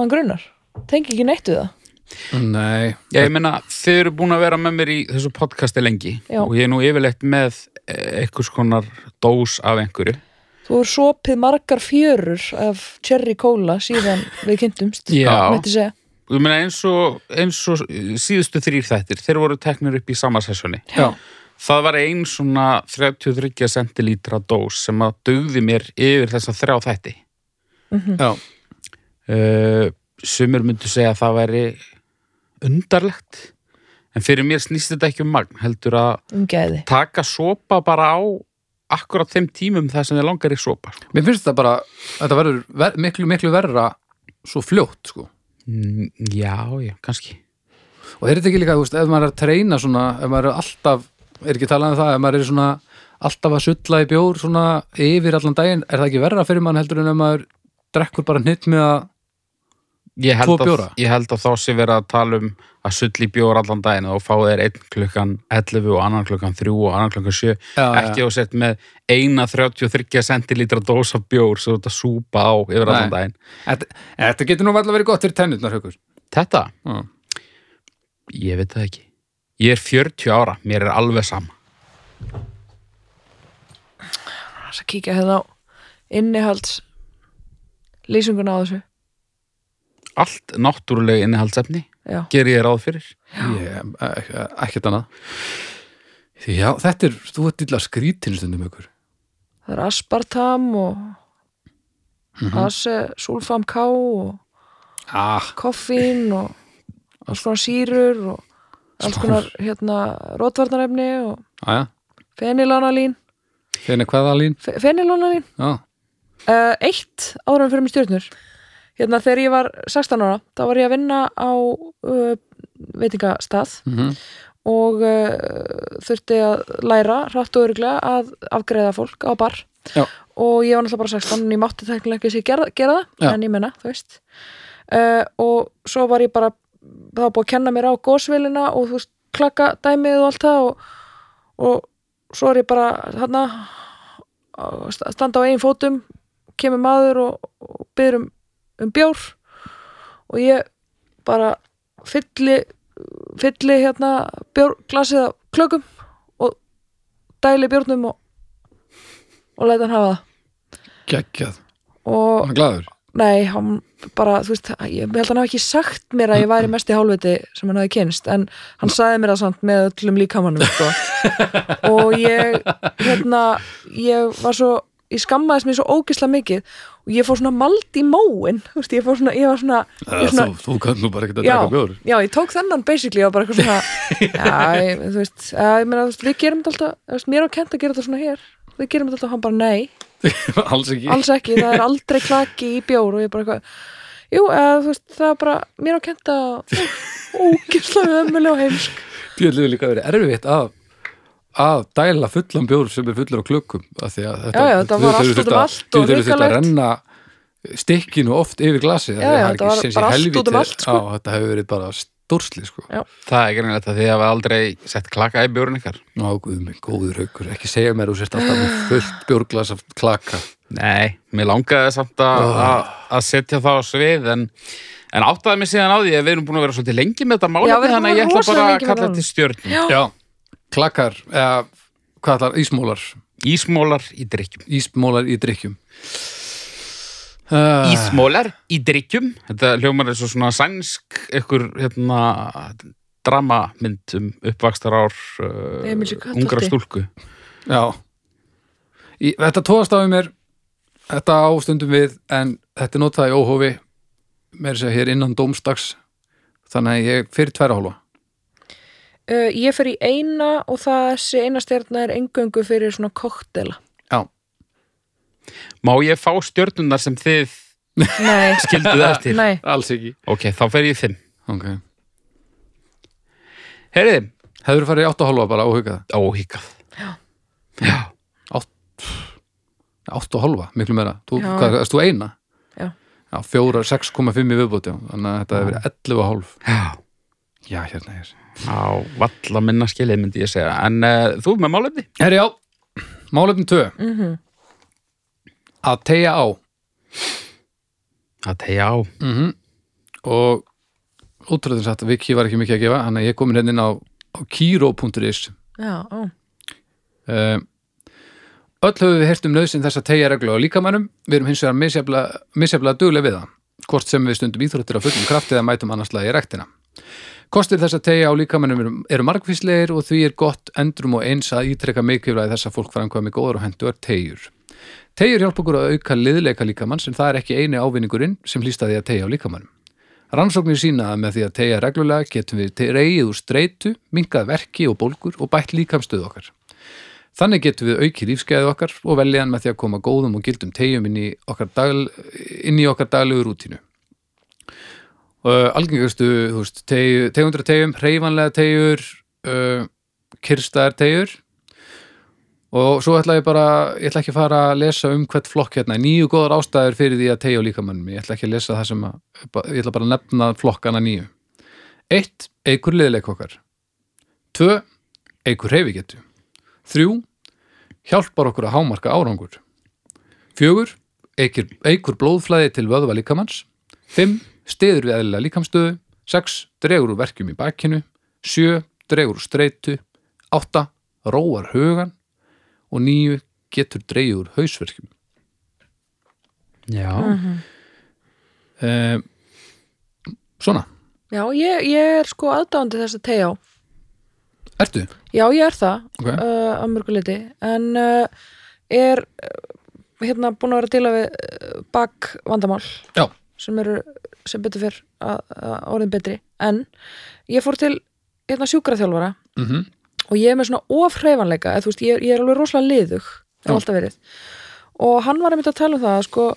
C: mann grunnar, tengi ekki neitt við það.
B: Nei.
A: Ég meina, þið eru búin að vera með mér í þessu podcasti lengi
C: Já.
A: og ég er nú yfirleitt með eh, einhvers konar dós af einhverju.
C: Þú er sopið margar fjörur af cherry cola síðan við kynntumst,
A: Já.
C: mætti segja.
A: Ég meina eins og, eins og síðustu þrýr þættir, þeir voru teknir upp í sama sessjóni.
B: Já.
A: Það var ein svona 33 centilítra dós sem að dugði mér yfir þessa þrjá þætti.
B: Já.
A: uh, sumur myndu segja að það væri undarlegt en fyrir mér snýst þetta ekki um magn heldur að
C: Um gæði.
A: taka sopa bara á akkurat þeim tímum það sem þið langar í sopa sko.
B: Mér finnst það bara, þetta verður ver, miklu, miklu verra svo fljótt, sko.
A: Mm, já, já, kannski
B: Og er þetta ekki líka, þú veist, ef maður er að treyna svona, ef maður er alltaf, er ekki talað um það, ef maður er svona alltaf að sulla í bjór svona yfir allan daginn, er það ekki verra fyrir mann heldur en ef maður drekkur bara hnitt með að
A: Ég held,
B: Tvo
A: að,
B: bjóra?
A: ég held að þá sé verið að tala um að sulli bjór allan daginn og fá þeir einn klukkan 11 og annan klukkan 3 og annan klukkan 7
B: Já,
A: ekki
B: já.
A: á sett með eina 33 centilítra dósa bjór sem þú ert að súpa á yfir allan
B: Nei.
A: daginn
B: Þetta, þetta getur nú alltaf verið gott fyrir tennutnar haukur
A: Þetta,
B: Já.
A: ég veit það ekki Ég er 40 ára, mér er alveg sama
C: Þess að kíkja hérna á innihalds lýsinguna á þessu
A: Allt náttúrulega innihaldsefni
C: Já,
A: ger ég ráð fyrir
B: Ég- ek- ekkert annað Því já, þetta er, þú ert illa skrítin stundum haukur
C: það er aspartam og mm -hmm. sulfam K og
B: ah,
C: koffín og alls konar sírur og alls konar hérna rótvarnarefni og
B: aðja,
C: fenilanalín
B: hérna hvaða lín
C: Fe- fenilanalín
B: já,
C: uh, eitt árum fyrir mér stjórnur hérna þegar ég var 16 ára þá var ég að vinna á uh, veitingastað
B: mm
C: og uh, þurfti að læra hratt og öruglega að afgreða fólk á bar
B: Já.
C: og ég var náttúrulega bara 16 en ég mátti teknilega ekki sér gera, gera það
B: Já.
C: en ég menna, þú veist uh, og svo var ég bara það var búið að kenna mér á gósvelina og þú veist, klakka dæmið og allt það og, og svo er ég bara þarna að sta- standa á eigin fótum kemur maður og, og byrður um, um bjór og ég bara fylli fylli hérna bjórglasið af klökum og dæli bjórnum og, og læta hann hafa það
B: geggjað,
C: og
B: hann glæður
C: nei, hann bara, þú veist, ég held að hann hafi ekki sagt mér að ég væri mest í hálfviti sem hann hafi kynst, en hann sagði mér það samt með öllum líkamannum sko. og ég, hérna ég var svo, ég skammaðist mér svo ógisla mikið og ég fór svona mald í móin, þú veist, ég fór svona ég var svona, ég svona
B: Eh, þú, þú kannu bara ekkert að
C: já,
B: taka bjór
C: já, ég tók þennan basically og bara eitthvað svona já, ég, þú veist, já, ég meina, þú veist, við gerum þetta alltaf þú veist, mér á kent að gera þetta svona hér við gerum þetta alltaf, hann bara nei,
B: alls ekki
C: alls ekki það er aldrei klaki í bjór og ég bara eitthvað jú, eða, þú veist, það er bara mér á kent að ógislega ömuleg og heimsk
B: Björnlegu líka verið erfitt að að dæla fullan bjór sem er fullar á klukkum af því að þetta,
C: Já, já, þetta var
B: þau- þau
C: allt
B: þurftu
C: út um
B: að-
C: allt og
B: þau þurftu að
C: hrikalegt.
B: renna stikkinu oft yfir glasið af því
C: Já,
B: að það
C: já,
B: er
C: þetta
B: ekki
C: var
B: séns í
C: bara allt út
B: helvíti.
C: um allt, sko.
B: á, þetta hefur verið bara stórsli sko.
C: Já.
A: Það er greinilegt að þið hafa aldrei sett klaka í bjórun ykkar
B: Ná, guð minn, góður haukur, ekki segja mér þú sért alltaf með fullt bjórglas af klaka
A: Nei, mér langaði samt að,
B: Oh.
A: að, að setja það á svið en, en áttaði mig síðan á því að við erum búin að vera svolítið lengi með þetta
C: Já, við
A: málefni
C: erum
A: þannig að ég
C: búin að
A: ætla bara
C: vera rosalega
A: að
C: lengi með
A: kalla
C: það.
A: þetta stjörnum.
B: Já, klakar eða, hvað allar, ísmólar
A: Ísmólar í drikkjum.
B: ísmólar í drikkjum uh,
A: Ísmólar í drikkjum. Þetta hljómar er svo svona sænsk ykkur hérna dramamynd um uppvakstar ár
C: Emil í
A: uh,
C: Kattholti.
A: ungra stúlku.
B: Já í, Þetta tóðast á í mér Þetta á stundum við En þetta er notað í óhófi Mér segja hér innan dómstags Þannig að ég fyrir tværa hálfa
C: uh, ég fer í eina og það þessi eina stjarnar er engöngu fyrir svona koktela
B: Já,
A: Má ég fá stjörnunar sem þið
C: nei,
A: skilduð eftir?
C: nei,
B: alls ekki
A: Ok, þá fer ég í fimm.
B: okay.
A: Herriði,
B: Hefur farið í átta hálfa bara óhugað
A: óhíkað. Já. Já.
B: Átta hálfa, miklu meira Þú,
C: Já.
B: hvað, erst þú eina?
C: Já.
B: Já, fjóra, 6,5 í viðbúti Þannig að þetta hefur verið 11 hálf
A: Já.
B: Já, hérna er
A: Á, valla minna skilið myndi ég segja En uh, þú með málefni?
B: Herri, já, málefni 2
C: Mhm.
B: Að tegja á
A: Það tegja á
B: og útrúðin sagt að Viki var ekki mikið að gefa hann að ég komin hérna inn á, á kiro.is
C: já, ó,
B: um, Öll höfum við heyrt um nöðsinn þess að tegja reglu á líkamannum við erum hins vegar misjaflega- misjaflega duglega við það hvort sem við stundum íþróttir á fullum krafti eða mætum annarslega í rektina Kostir þess að tegja á líkamannum eru, eru margfíslegir og því er gott endrum og eins að ítreka mikilvæg þess að fólk framkvæmi góðar og hendur tegjur Tegjur hjálpa okkur að auka liðleika líkamann sem það er ekki eini ávinningurinn sem hlýst að því að tegja á líkamannum Rannsóknir sína að með því að tegja reglulega getum við reyið úr streitu, minkað verki og bólgur og bætt líkamstöð okkar. Þannig getum við auki lífsgæði okkar og veljaðan með því að koma góðum og gildum tegjum inn í okkar, dagl, inn í okkar daglegu rútínu. Uh, algengastu þú veist, teg, tegundra tegjum, reyfanlega tegjur, uh, kyrstaðar tegjur og svo ætla ég bara, ég ætla ekki að fara að lesa um hvert flokk hérna, níu góðar ástæður fyrir því að tegja á líkamannum, ég ætla ekki að lesa það sem að, ég ætla bara að nefna flokkana níu Eitt, eikur liðleik okkar Tvö, eikur reyfigetu Þrjú, hjálpar okkur að hámarka árangur Fjögur, eikur, eikur blóðflæði til vöðva líkamanns 5. Stiður við eðlilega líkamstöðu 6. Dregur úr verkjum í bakinu 7. Dregur úr streitu 8. Róar hugan og 9. Getur dreigið úr hausverkjum
A: Já,
B: um, Svona,
C: Já, ég, ég er sko aðdáandi þess að tegja á.
B: ertu?
C: Já, ég er það
B: Ok.
C: uh, að mörguleiti en uh, er uh, hérna búin að vera að díla við uh, bak vandamál
B: Já.
C: sem eru sem betur fyrr að, að orðin betri en ég fór til hérna sjúkraþjálfara
B: Mm -hmm.
C: og ég er með svona ofreifanleika eða þú veist, ég, er- ég er alveg rosalega liðug það
B: Já.
C: er alltaf verið og hann var einmitt að tala um það sko,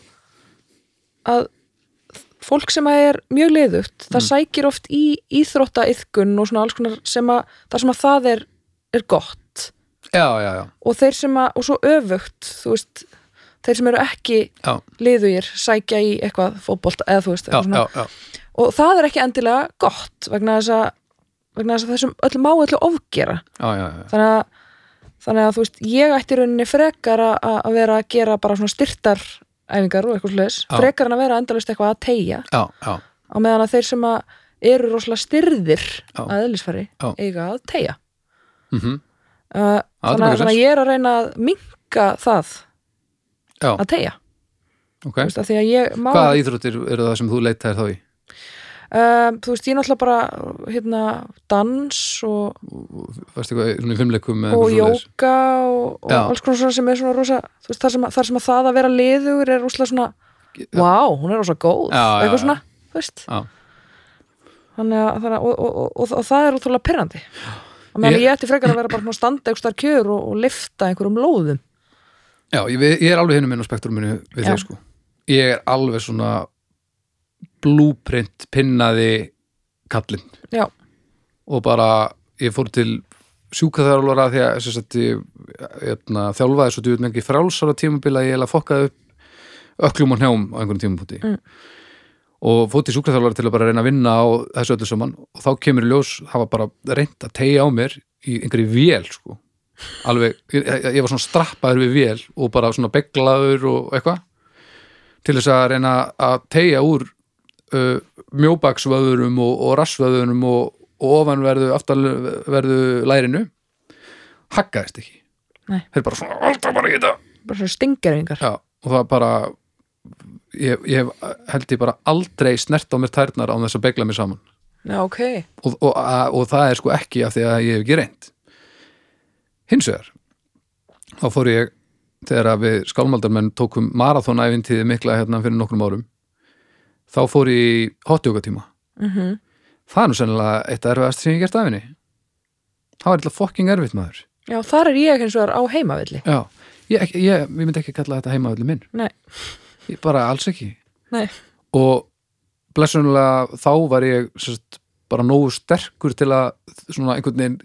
C: að fólk sem að er mjög liðugt
B: Mm.
C: það sækir oft í íþrótta og svona alls konar sem að það sem að það er, er gott
B: Já, já, já,
C: og þeir sem að, og svo öfugt þú veist, þeir sem eru ekki
B: já,
C: liðugir sækja í eitthvað fótbolt eða þú veist,
B: já,
C: eitthvað
B: já, já.
C: og það er ekki endilega gott vegna þess að vegna þess að þessum öll má öllu ofgera
B: Já, já, já.
C: þannig að, þannig að þú veist ég ætti í rauninni frekar að- að að vera að gera bara svona styrtar æfingar og eitthvað sliðis,
B: Já.
C: frekar en að vera endalaust eitthvað að tegja,
B: já, já,
C: á meðan að þeir sem að eru rosalega styrðir
B: Já.
C: að eðlisfæri
B: Já.
C: eiga að tegja
B: mm
C: uh,
B: Já, þetta makar
C: þannig, að- þannig að
B: sens.
C: ég er að reyna að minka það
B: Já.
C: að tegja
B: ok
C: þú veist, að því að ég má
B: Hvaða íþróttir eru það sem þú leitaðir þá í?
C: um, þú veist, ég náttúrulega bara hérna, dans og,
B: Varstu eitthvað svona í fimmleikum eða
C: og
B: eitthvað svoleiðis?
C: jóka og, og
B: Já.
C: alls konar svona sem er svona rosa þú veist, þar sem, að- þar sem að það að vera liður er rosalega svona, vá, hún er rosa góð
B: Já, já,
C: eitthvað
B: já.
C: svona, þú veist
B: Já.
C: þannig að, þannig að og, og, og, og, og það er útrúlega perrandi og meðan
B: Ég-
C: ég ætti frekar að vera bara svona að standa einhver starf kjör og, og lifta einhverjum lóðum
B: Já, ég, við- ég er alveg hinum inn á spektruminu við
C: Já.
B: þig sko. Ég er alveg svona blúprint pinnaði kallinn
C: já,
B: og bara ég fór til sjúkaþjálfara því að sem sagt, ég, hérna, þjálfaði svo djúið mikið frálsara tímabila ég eiginlega fokkaði upp öklum og hnjám á einhvern tímapunkti
C: Mm.
B: og fór til sjúkaþjálfara til að bara reyna að vinna á þessu öllu saman og þá kemur í ljós hafa bara reynt að tegja á mér í einhverju vél sko alveg, ég, ég- ég var svona strappaður við vél og bara svona beglaður og eitthvað til þess að reyna að tegja úr uh, mjóbaksvöðurum og, og rassvöðurum og, og ofanverðu aftarverðu lærinu haggaðist ekki
C: Nei.
B: þeir bara svona, alltaf bara í þetta
C: bara svona stingeringar
B: Já, og það bara ég, ég hef- held ég bara aldrei snert á mér tærnar án þess að begla mér saman
C: já, ok,
B: og, og, að- og það er sko ekki af því að ég hef ekki reynd hins vegar þá fór ég þegar að við skálmaldarmenn tókum marathonæfintíði mikla hérna fyrir nokkrum árum þá fór ég í hotjókatíma
C: mhm
B: það er nú sennilega eitt erfiðast sem ég hef gert af henni það var eitthvað fokking erfitt maður
C: Já, þar er ég eins og er á heimavilli.
B: já, ég, ekki- ég, ég myndi ekki kalla þetta heimavöldu minn
C: Nei.
B: ég bara alls ekki
C: Nei.
B: og blessunlega þá var ég sérst, bara nógu sterkur til að svona einhvern veginn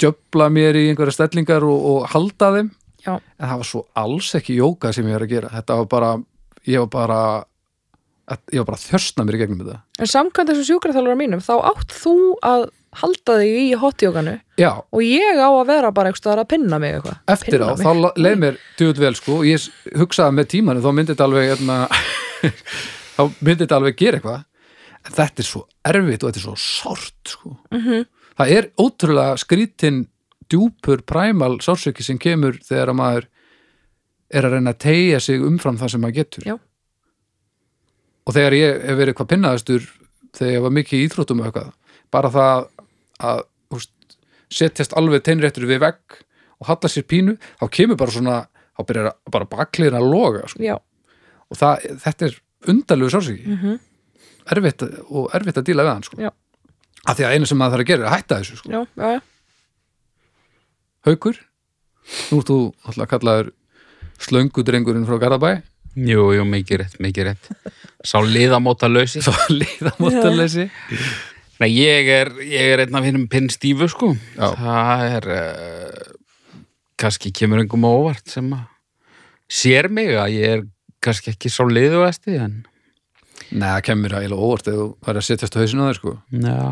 B: djöfla mér í einhverja stellingar og, og halda þeim
C: Já.
B: en það var svo alls ekki jóka sem ég var að gera þetta var bara ég var bara ég var bara að þjörsna mér í gegnum þetta
C: En samkvæmt þessu sjúkraþjálfara mínum, þá átt þú að halda þig í hotjókanu
B: já,
C: og ég á að vera bara einhverstaðar að pinna mig eitthvað.
B: eftir á,
C: Pinna
B: þá
C: mig.
B: la- leið mér djúið vel sko, og ég s- hugsaði með tímanum þá myndi þetta alveg hérna, þá myndi þetta alveg gera eitthvað en þetta er svo erfitt og þetta er svo sárt sko.
C: Mhm.
B: það er ótrúlega skrítin djúpur præmal sársöki sem kemur þegar að maður er að reyna að tegja sig umfram það sem maður getur
C: Já.
B: og þegar ég hef verið hvað pinnaðastur þegar ég var mikið í íþróttum og eitthvað bara það að úst, setjast alveg teinréttur við vegg og halla sér pínu, þá kemur bara svona þá byrjar að- bara bakliðin að loga sko.
C: Já,
B: og það, þetta er undarlegu sársöki
C: mm
B: erfitt og erfitt að díla við hann sko.
C: Já.
B: af því að einu sem maður þarf að gera er að hætta þessu sko.
C: já, já, já.
B: haukur, nú ert þú alltaf kallaður slöngudrengurinn frá Garðabæ
A: jú, jú, mikið rétt, mikið rétt Sá liðamóta lausi
B: þá liðamóttaleysi
A: Nei, ég er, ég er einn af hinnum pinnstífu sko
B: Já.
A: Það er uh, kannski kemur engum á óvart sem að sér mig að ég er kannski ekki sá liðuðasti en
B: Nei, það kemur að eiginlega óvart eða þú væri að setjast á hausinu á þér sko
A: já,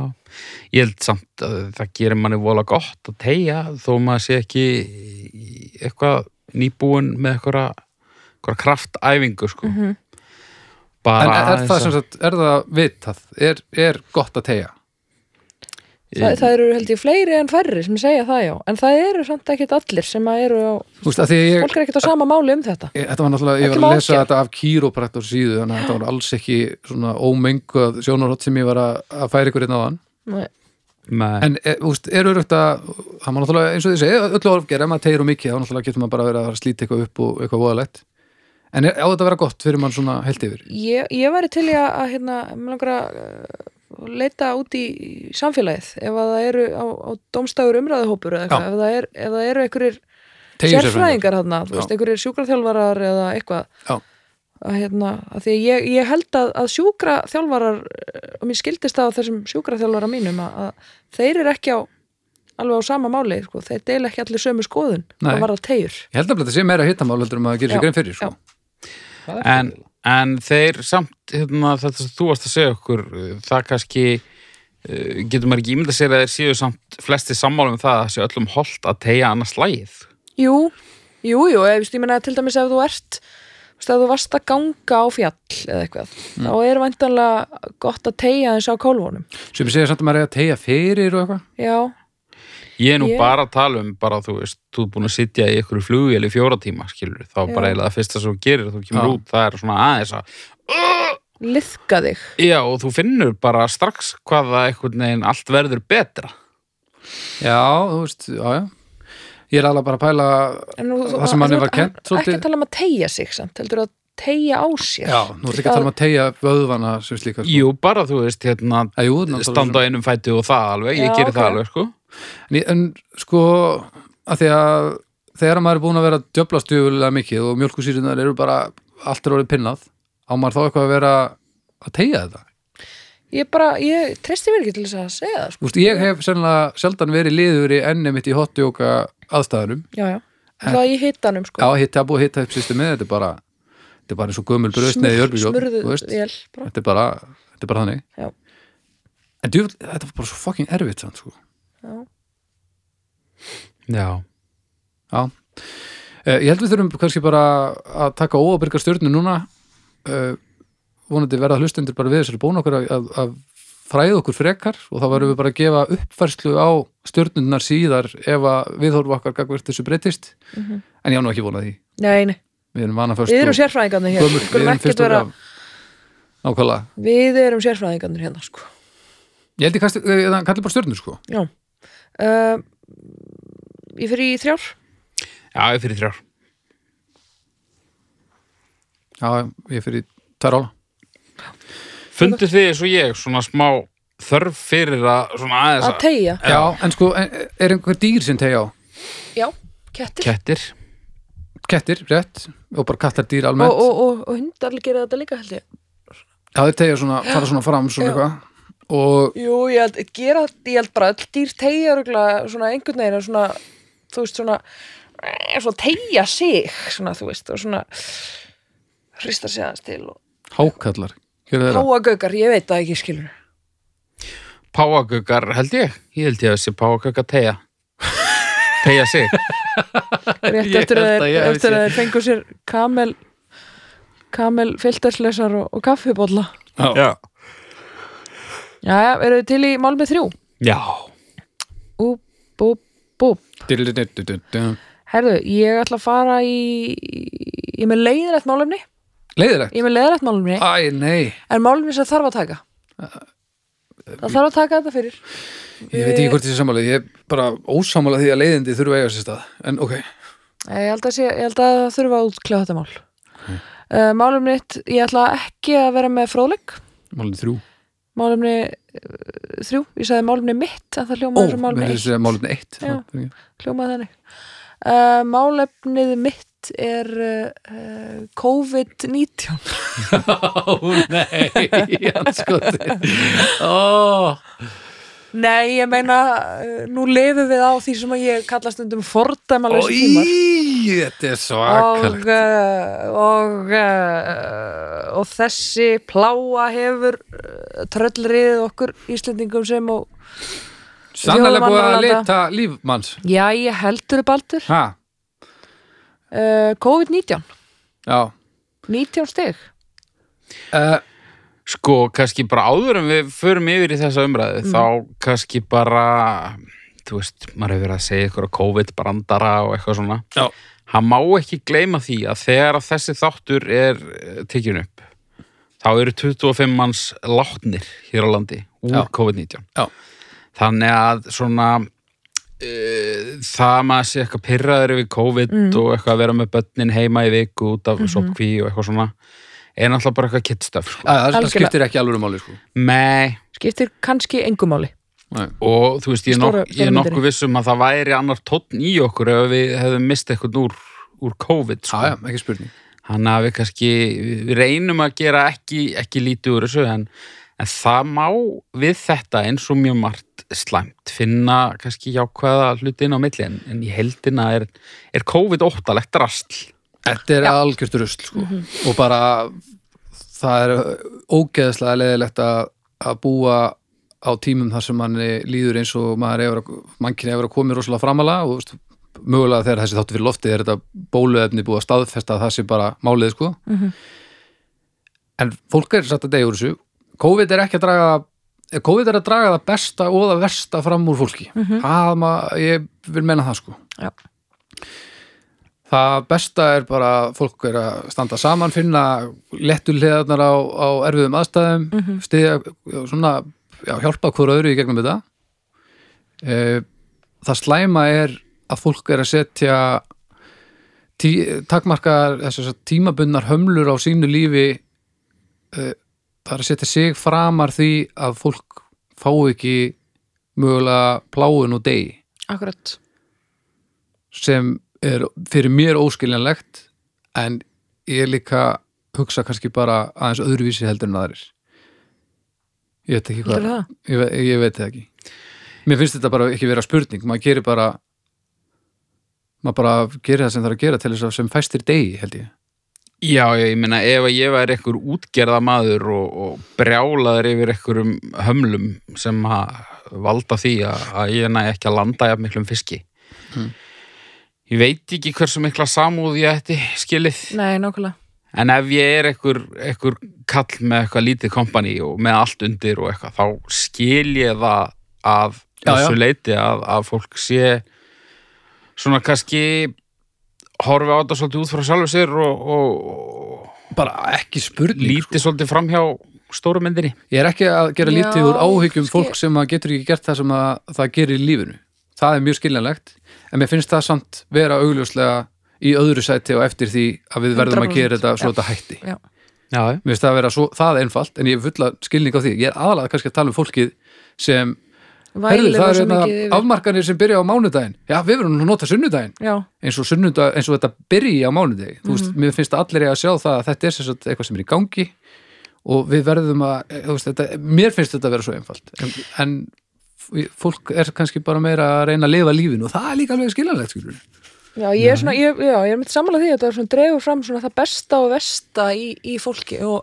A: ég held samt að það gerir manni vola gott að tegja þó maður sé ekki í- eitthvað nýbúin með eitthvað, eitthvað kraftæfingu sko.
B: En
A: bara
B: er, er það
A: aðeins
B: sem
A: að-
B: sagt, er það vitað? Er, er gott að tegja?
C: það, það eru held ég fleiri en færri sem segja það já en það eru samt ekkit allir sem að eru á,
B: Þú veist, að því að ég,
C: fólk er ekkit á sama máli um þetta
B: Ég- Þetta var náttúrulega, ég
C: Ekki
B: var að
C: má
B: lesa
C: gera.
B: þetta af kýrópraktor síðu þannig að þetta var alls ekki svona ómenguð sjónarhótt sem ég var að, að færa ykkur einn á þann
C: Nei.
A: Nei.
B: En e, úst, eru þetta, það var náttúrulega eins og þið segja, öllu orfgerð, ef maður tegir og mikið þá náttúrulega getur maður bara verið að fara að slíta eitthvað upp og eitthvað voðalegt En er, á þetta að vera gott fyrir mann svona heilt yfir?
C: ég, ég væri til í að, að hérna, mig langar að uh, leita út í samfélagið ef að það eru á, á domstafur umræðuhópur eða eitthvað, ef það, er, ef það eru einhverjir
B: Teygju sér
C: sérfræðingar þarna, þú
B: Já.
C: veist, einhverjir sjúkraþjálfarar eða eitthvað
B: Já.
C: að hérna, að því að ég, ég held að, að sjúkraþjálfarar eh, og mér skildist það á þessum sjúkraþjálfara mínum að, að þeir eru ekki á alveg á sama máli, sko, þeir deila ekki allir sömu skoðun
B: Nei.
C: og varða tegjur
B: Ég held að þetta sé meira hittamál heldur um að gera
C: Já,
B: sér grein fyrir sko.
C: já.
A: en, en þeir samt hérna, þetta sem þú varst að segja okkur uh, það kannski uh, getur maður ekki ímynda sér að þeir séu samt flesti sammála um það að það sé öllum holdt að tegja annars lægið
C: Jú, jú, jú, ég, veist, ég meina til dæmis ef þú ert þú veist, ef þú varst að ganga á fjall eða eitthvað,
B: Mm.
C: þá er væntanlega gott að tegja þess á kólvónum
B: Sem segja samt að maður er að tegja fyrir og eitthvað
C: Já,
A: ég er nú
C: Ég-
A: bara að tala um bara þú veist, þú ert búin að sitja í ykkur flugvél í fjóra tíma skilur, þá
C: Já.
A: bara eiginlega það fyrsta sem þú gerir þú kemur
B: Já.
A: út, það er svona aðeins að
C: liðka þig
A: já og þú finnur bara strax hvað það einhvern veginn allt verður betra
B: Já, þú veist, já, já Ég er alveg bara að pæla
C: En nú-
B: það sem manni
C: þú-
B: var kennt
C: hann- ekki
B: svolítið.
C: að tala um að tegja sig samt, heldur að tegja á sér
B: Já, nú er ekki að tala um að tegja vöðvana sem slíka sko.
A: jú bara þú veist hérna
B: Að jú, náttúrulega
A: standa á einum fæti og það alveg, ég
C: Já,
A: gerir það
C: ok.
A: alveg sko
B: En, ég- en sko að því að þegar maður er búin að vera að djöfla stjöfulega mikið og mjölkusýrunar eru bara allt er orðið pinnað á maður þá eitthvað að vera að tegja þetta
C: Ég bara, ég treysti mér ekki til þess að segja það sko.
B: Úst, ég hef sennilega sjaldan verið liður í enni mitt í hotjóka aðstæðanum
C: Já, já, það er í hitanum sko.
B: á hitta að búið að hitta upp systemið þetta er bara, þetta er bara eins og gömul bröðsneið í
C: Smur-
B: örbíkjóð þetta
C: smurðuð vél bara.
B: er bara, þetta er bara þannig
C: Já.
B: en djöfull, þetta var bara svo fucking erfitt samt, sko.
A: já
B: Já, Eh, ég held við þurfum kannski bara að taka óabyrgar stjörnu núna Eh, vonandi verða hlustendur bara við þessari bónu okkur að, að, að fræða okkur frekar og þá verðum við bara að gefa uppfærslu á stjörnunnar síðar ef að viðhorfa okkar gagvert þessu breytist en ég á nú ekki vonað því,
C: Nei, nei,
B: við erum vana
C: Mhm. við erum
B: först
C: sérfræðingarnir hér
B: gömul,
C: Við
B: við
C: erum,
B: erum
C: ekkert
B: fyrst og
C: vera,
B: vera nákvæmlega,
C: við erum sérfræðingarnir hérna sko.
B: ég held ég kannski, eh, það kallir bara stjörnur sko
C: Já uh, Ég fyrir í þrjár
A: Já, ég fyrir þrjár.
B: já, ég fyrir tæra ála
A: Fundu þið eins og ég svona smá þörf fyrir að svona aðeins
C: Að tegja,
B: já, en sko, en- er einhver dýr sem tegja á
C: já, kettir
A: kettir?
B: kettir, rétt, og bara kattardýr
C: Og,
B: almennt
C: og, og, og hundar gera þetta líka held ég
B: Já, þeir tegja svona, fara svona fram svona
C: Já.
B: eitthvað og
C: Jú, ég held, gera, ég held bara öll dýr tegja örgulega svona einhvern veginn að svona, þú veist, svona svona tegja sig svona, þú veist, og svona hrista sig aðeins til og
B: hákallar Gerðu þeirra?
C: páagöggar, ég veit það ekki skilur
A: Páagöggar held ég. Ég held ég að þessi páagöggar tegja. tegja sig.
C: rétt
B: Ég
C: eftir að
B: held
C: þeir,
B: að ég hafi
C: eftir að
B: séð-
C: þeir fengu sér kamel kamel filterslesar og, og kaffibólla
B: Já.
C: Jæja, eru þið til í mál með þrjú?
A: Já.
C: Úp, búp, búp
B: Dillididididu.
C: Herðu, ég ætla að fara í ég er með leiðinlegt málumni
B: Leiðilegt?
C: ég er með leiðinlegt málumni
B: Æ, nei,
C: En málum þess að þarf að taka Það þarf að taka þetta fyrir
B: ég veit ekki hvort þessi sammála Ég er bara ósammála því að leiðindi þurfa að eiga sér stað En ok,
C: Nei, Ég held að, sé, ég held að það þurfa að útkljá þetta mál uh, Málum nýtt Ég ætla ekki að vera með fróðleik
B: málni þrjú
C: Málumni uh, þrjú Ég sagði málumni mitt en það
B: Ó,
C: hljómaði sem
B: mér er
C: málumni eitt
B: þessi málni eitt
C: Já.
B: Já.
C: Hljómaði þannig uh, Málefnið mitt er uh, uh, COVID-19
B: Ó, nei, hann skoði Ó
C: Nei, ég meina, eh, nú lifum við á því sem að ég kalla stundum fordæmalösa tímar
B: Í, þetta er
C: og,
B: svakalegt
C: uh, og, uh, og þessi pláa hefur uh, tröllriðið okkur Íslendingum sem og
B: Sannlega búið að
C: Þjóðvanalanda.
B: lita líf manns
C: já, ég heldur upp aldur
B: Ha,
C: uh, COVID-19,
B: já
C: 19 stig
B: uh,
A: Sko, kannski bara áður en við förum yfir í þessa umræðu, þá kannski bara, þú veist, maður hefur verið að segja ykkur á COVID-brandara og eitthvað svona.
B: Já.
A: Hann má ekki gleyma því að þegar að þessi þáttur er tekjun upp, þá eru 25 manns látnir hér á landi úr
B: Já.
A: COVID-19.
B: Já.
A: Þannig að svona, uh, það maður sé eitthvað pyrraður yfir COVID og eitthvað að vera með börnin heima í viku út af mm og eitthvað svona, er náttúrulega bara eitthvað kittstaf, sko.
B: Það
C: Algjörlega.
B: skiptir ekki alveg máli sko
A: Nei,
C: skiptir kannski engum áli
B: Nei.
A: og þú veist, ég er
C: Stóra-
A: nokk- ég er
C: stóra
A: nokkuð
C: myndinni.
A: vissum að það væri annar tónn í okkur ef við hefðum mist eitthvað úr, úr COVID sko.
B: Já, já, ekki spurning
A: hann að við kannski við reynum að gera ekki, ekki lítið úr þessu en, en það má við þetta eins og mjög margt slæmt finna kannski jákvæða hluti inn á milli en, en í heldina er, er COVID óttalegt rastl
B: Þetta er algjört rusl sko. og bara það er ógeðslega leðilegt að, að búa á tímum þar sem manni líður eins og maður hefur að, mannkinn hefur að komið rosalega framala og þú veist, mögulega þegar þessi þáttu fyrir loftið er þetta bóluefni búið að staðfesta að það sé bara málið sko. en fólk er satt að deyja úr þessu COVID er ekki að draga COVID er að draga það besta og það versta fram úr fólki mm -hmm. ég vil menna það sko
C: já.
B: Það besta er bara að fólk er að standa saman, finna lettur hliðarnar á, á erfiðum aðstæðum, mm -hmm. stiðja, svona, já, hjálpa hvora öðru í gegnum þetta. Eh, Það slæma er að fólk er að setja tí, takmarkar þessar tímabundnar hömlur á sínu lífi, eh, það er að setja sig framar því að fólk fá ekki mögulega pláun og degi
C: akkurat
B: sem er fyrir mér óskiljanlegt en ég líka hugsa kannski bara aðeins öðruvísi heldur en aðrir ég veit ekki hvað
C: Heldurðu það?
B: ég, ve ég veit það ekki mér finnst þetta bara ekki vera spurning maður gerir bara maður bara gerir það sem þarf að gera til þess að sem fæstir degi held ég
A: Já, já, ég meina ef að ég væri ekkur útgerða maður og, og brjálaður yfir ekkurum hömlum sem að valda því að, að ég næ ekki að landa jafn miklum fiski. Hmm. Ég veit ekki hversu mikla samúð ég ætti skilið,
C: nei, nákvæmlega
A: en ef ég er ekkur, ekkur kall með eitthvað lítið kompani og með allt undir og eitthvað, þá skil ég það að
B: Já, já.
A: þessu leiti að, að fólk sé svona kannski horfi á þetta svolítið út frá sjálfu sér og, og
B: bara ekki spurning
A: lítið svolítið framhjá stóru myndinni.
B: ég er ekki að gera
C: Já,
B: lítið úr áhyggjum
C: skil-
B: fólk sem að getur ekki gert það sem að það gerir í lífinu það er mjög skiljanlegt en mér finnst það samt vera augljóslega í öðru sæti og eftir því að við verðum að
C: 100%,
B: gera þetta svo
C: já.
B: þetta hætti
C: já.
A: Já,
B: mér finnst það að vera svo, það einfalt en ég er fulla skilning á því, ég er aðalega kannski að tala um fólkið sem, herðu
C: vælir
B: það
C: það
B: eru
C: svo
B: hérna
C: mikið yfir
B: afmarkanir sem byrja á mánudaginn já, við verðum nú að nota sunnudaginn
C: já,
B: eins og, sunnudag, eins og þetta byrji á mánudegi þú veist,
C: Mhm.
B: mér finnst allir eiga að sjá það að þetta er sem sagt eitthvað sem er í gangi og við verðum að, eh, þú veist, þetta, mér finnst þetta að vera svo einfalt en, en f- fólk er kannski bara meira að reyna að lifa lífinu og það er líka alveg skiljanlegt skilur.
C: Já, ég er svona, ég, já, ég er mitt sammála því að þetta er svona dregur fram svona það besta og versta í, í fólki og,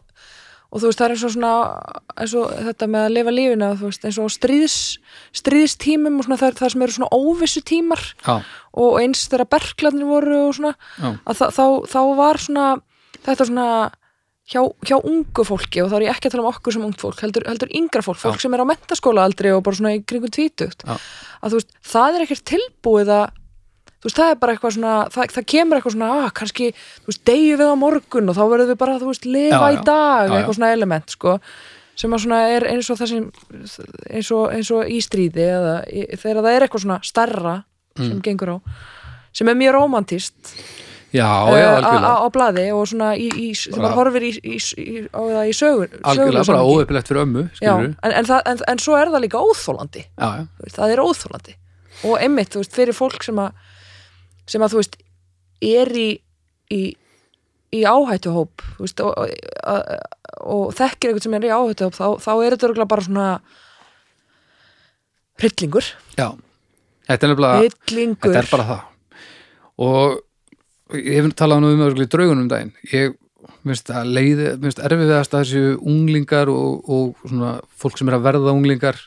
C: og þú veist, það er eins og svona eins og þetta með að lifa lífina þú veist, eins og á stríðs, stríðstímum og svona það, er það sem eru svona óvissu tímar
B: Já,
C: og eins þegar berklarnir voru og svona
B: já,
C: að þá, þá, þá var svona þetta svona hjá, hjá ungu fólki og þá er ég ekki að tala um okkur sem ungt fólk heldur, heldur yngra fólk, fólk
B: Já.
C: sem er á mentaskólaaldri og bara svona í kringum tvítugt
B: Já.
C: að þú veist, það er ekkert tilbúið að þú veist, það er bara eitthvað svona það, það kemur eitthvað svona, að kannski þú veist, deyju við á morgun og þá verðum við bara þú veist, lifa
B: Já, já.
C: í dag,
B: Já, já.
C: eitthvað svona element sko, sem að svona er eins og þessi eins og, eins og í stríði eða í, þegar það er eitthvað svona starra sem
B: Mm.
C: gengur á sem er mjög rómantist
B: já, já
C: Eh, á
B: algjörlega
C: á- á blaði og svona í, í, þegar maður horfir í, í, í, á það í sögur
B: algjörlega bara
C: sögulega
B: óöpilegt fyrir ömmu
C: samhengi. Já,
B: skilur.
C: en, en, það, en, en svo er það líka óþólandi
B: já, já,
C: þú veist, það er óþólandi og einmitt, þú veist, fyrir fólk sem að sem að, þú veist, er í í, í áhættuhóp þú veist, og, og, og, og þekkir eitthvað sem er í áhættuhóp þá, þá er þetta örugglega bara svona Prillingur
B: já, þetta er nefnilega
C: Prillingur
B: Ah, þetta er bara það og ég hef talað nú um öðruglega draugunum um daginn ég minnst að leiði, minnst erfiðast að þessu unglingar og, og svona fólk sem er að verða unglingar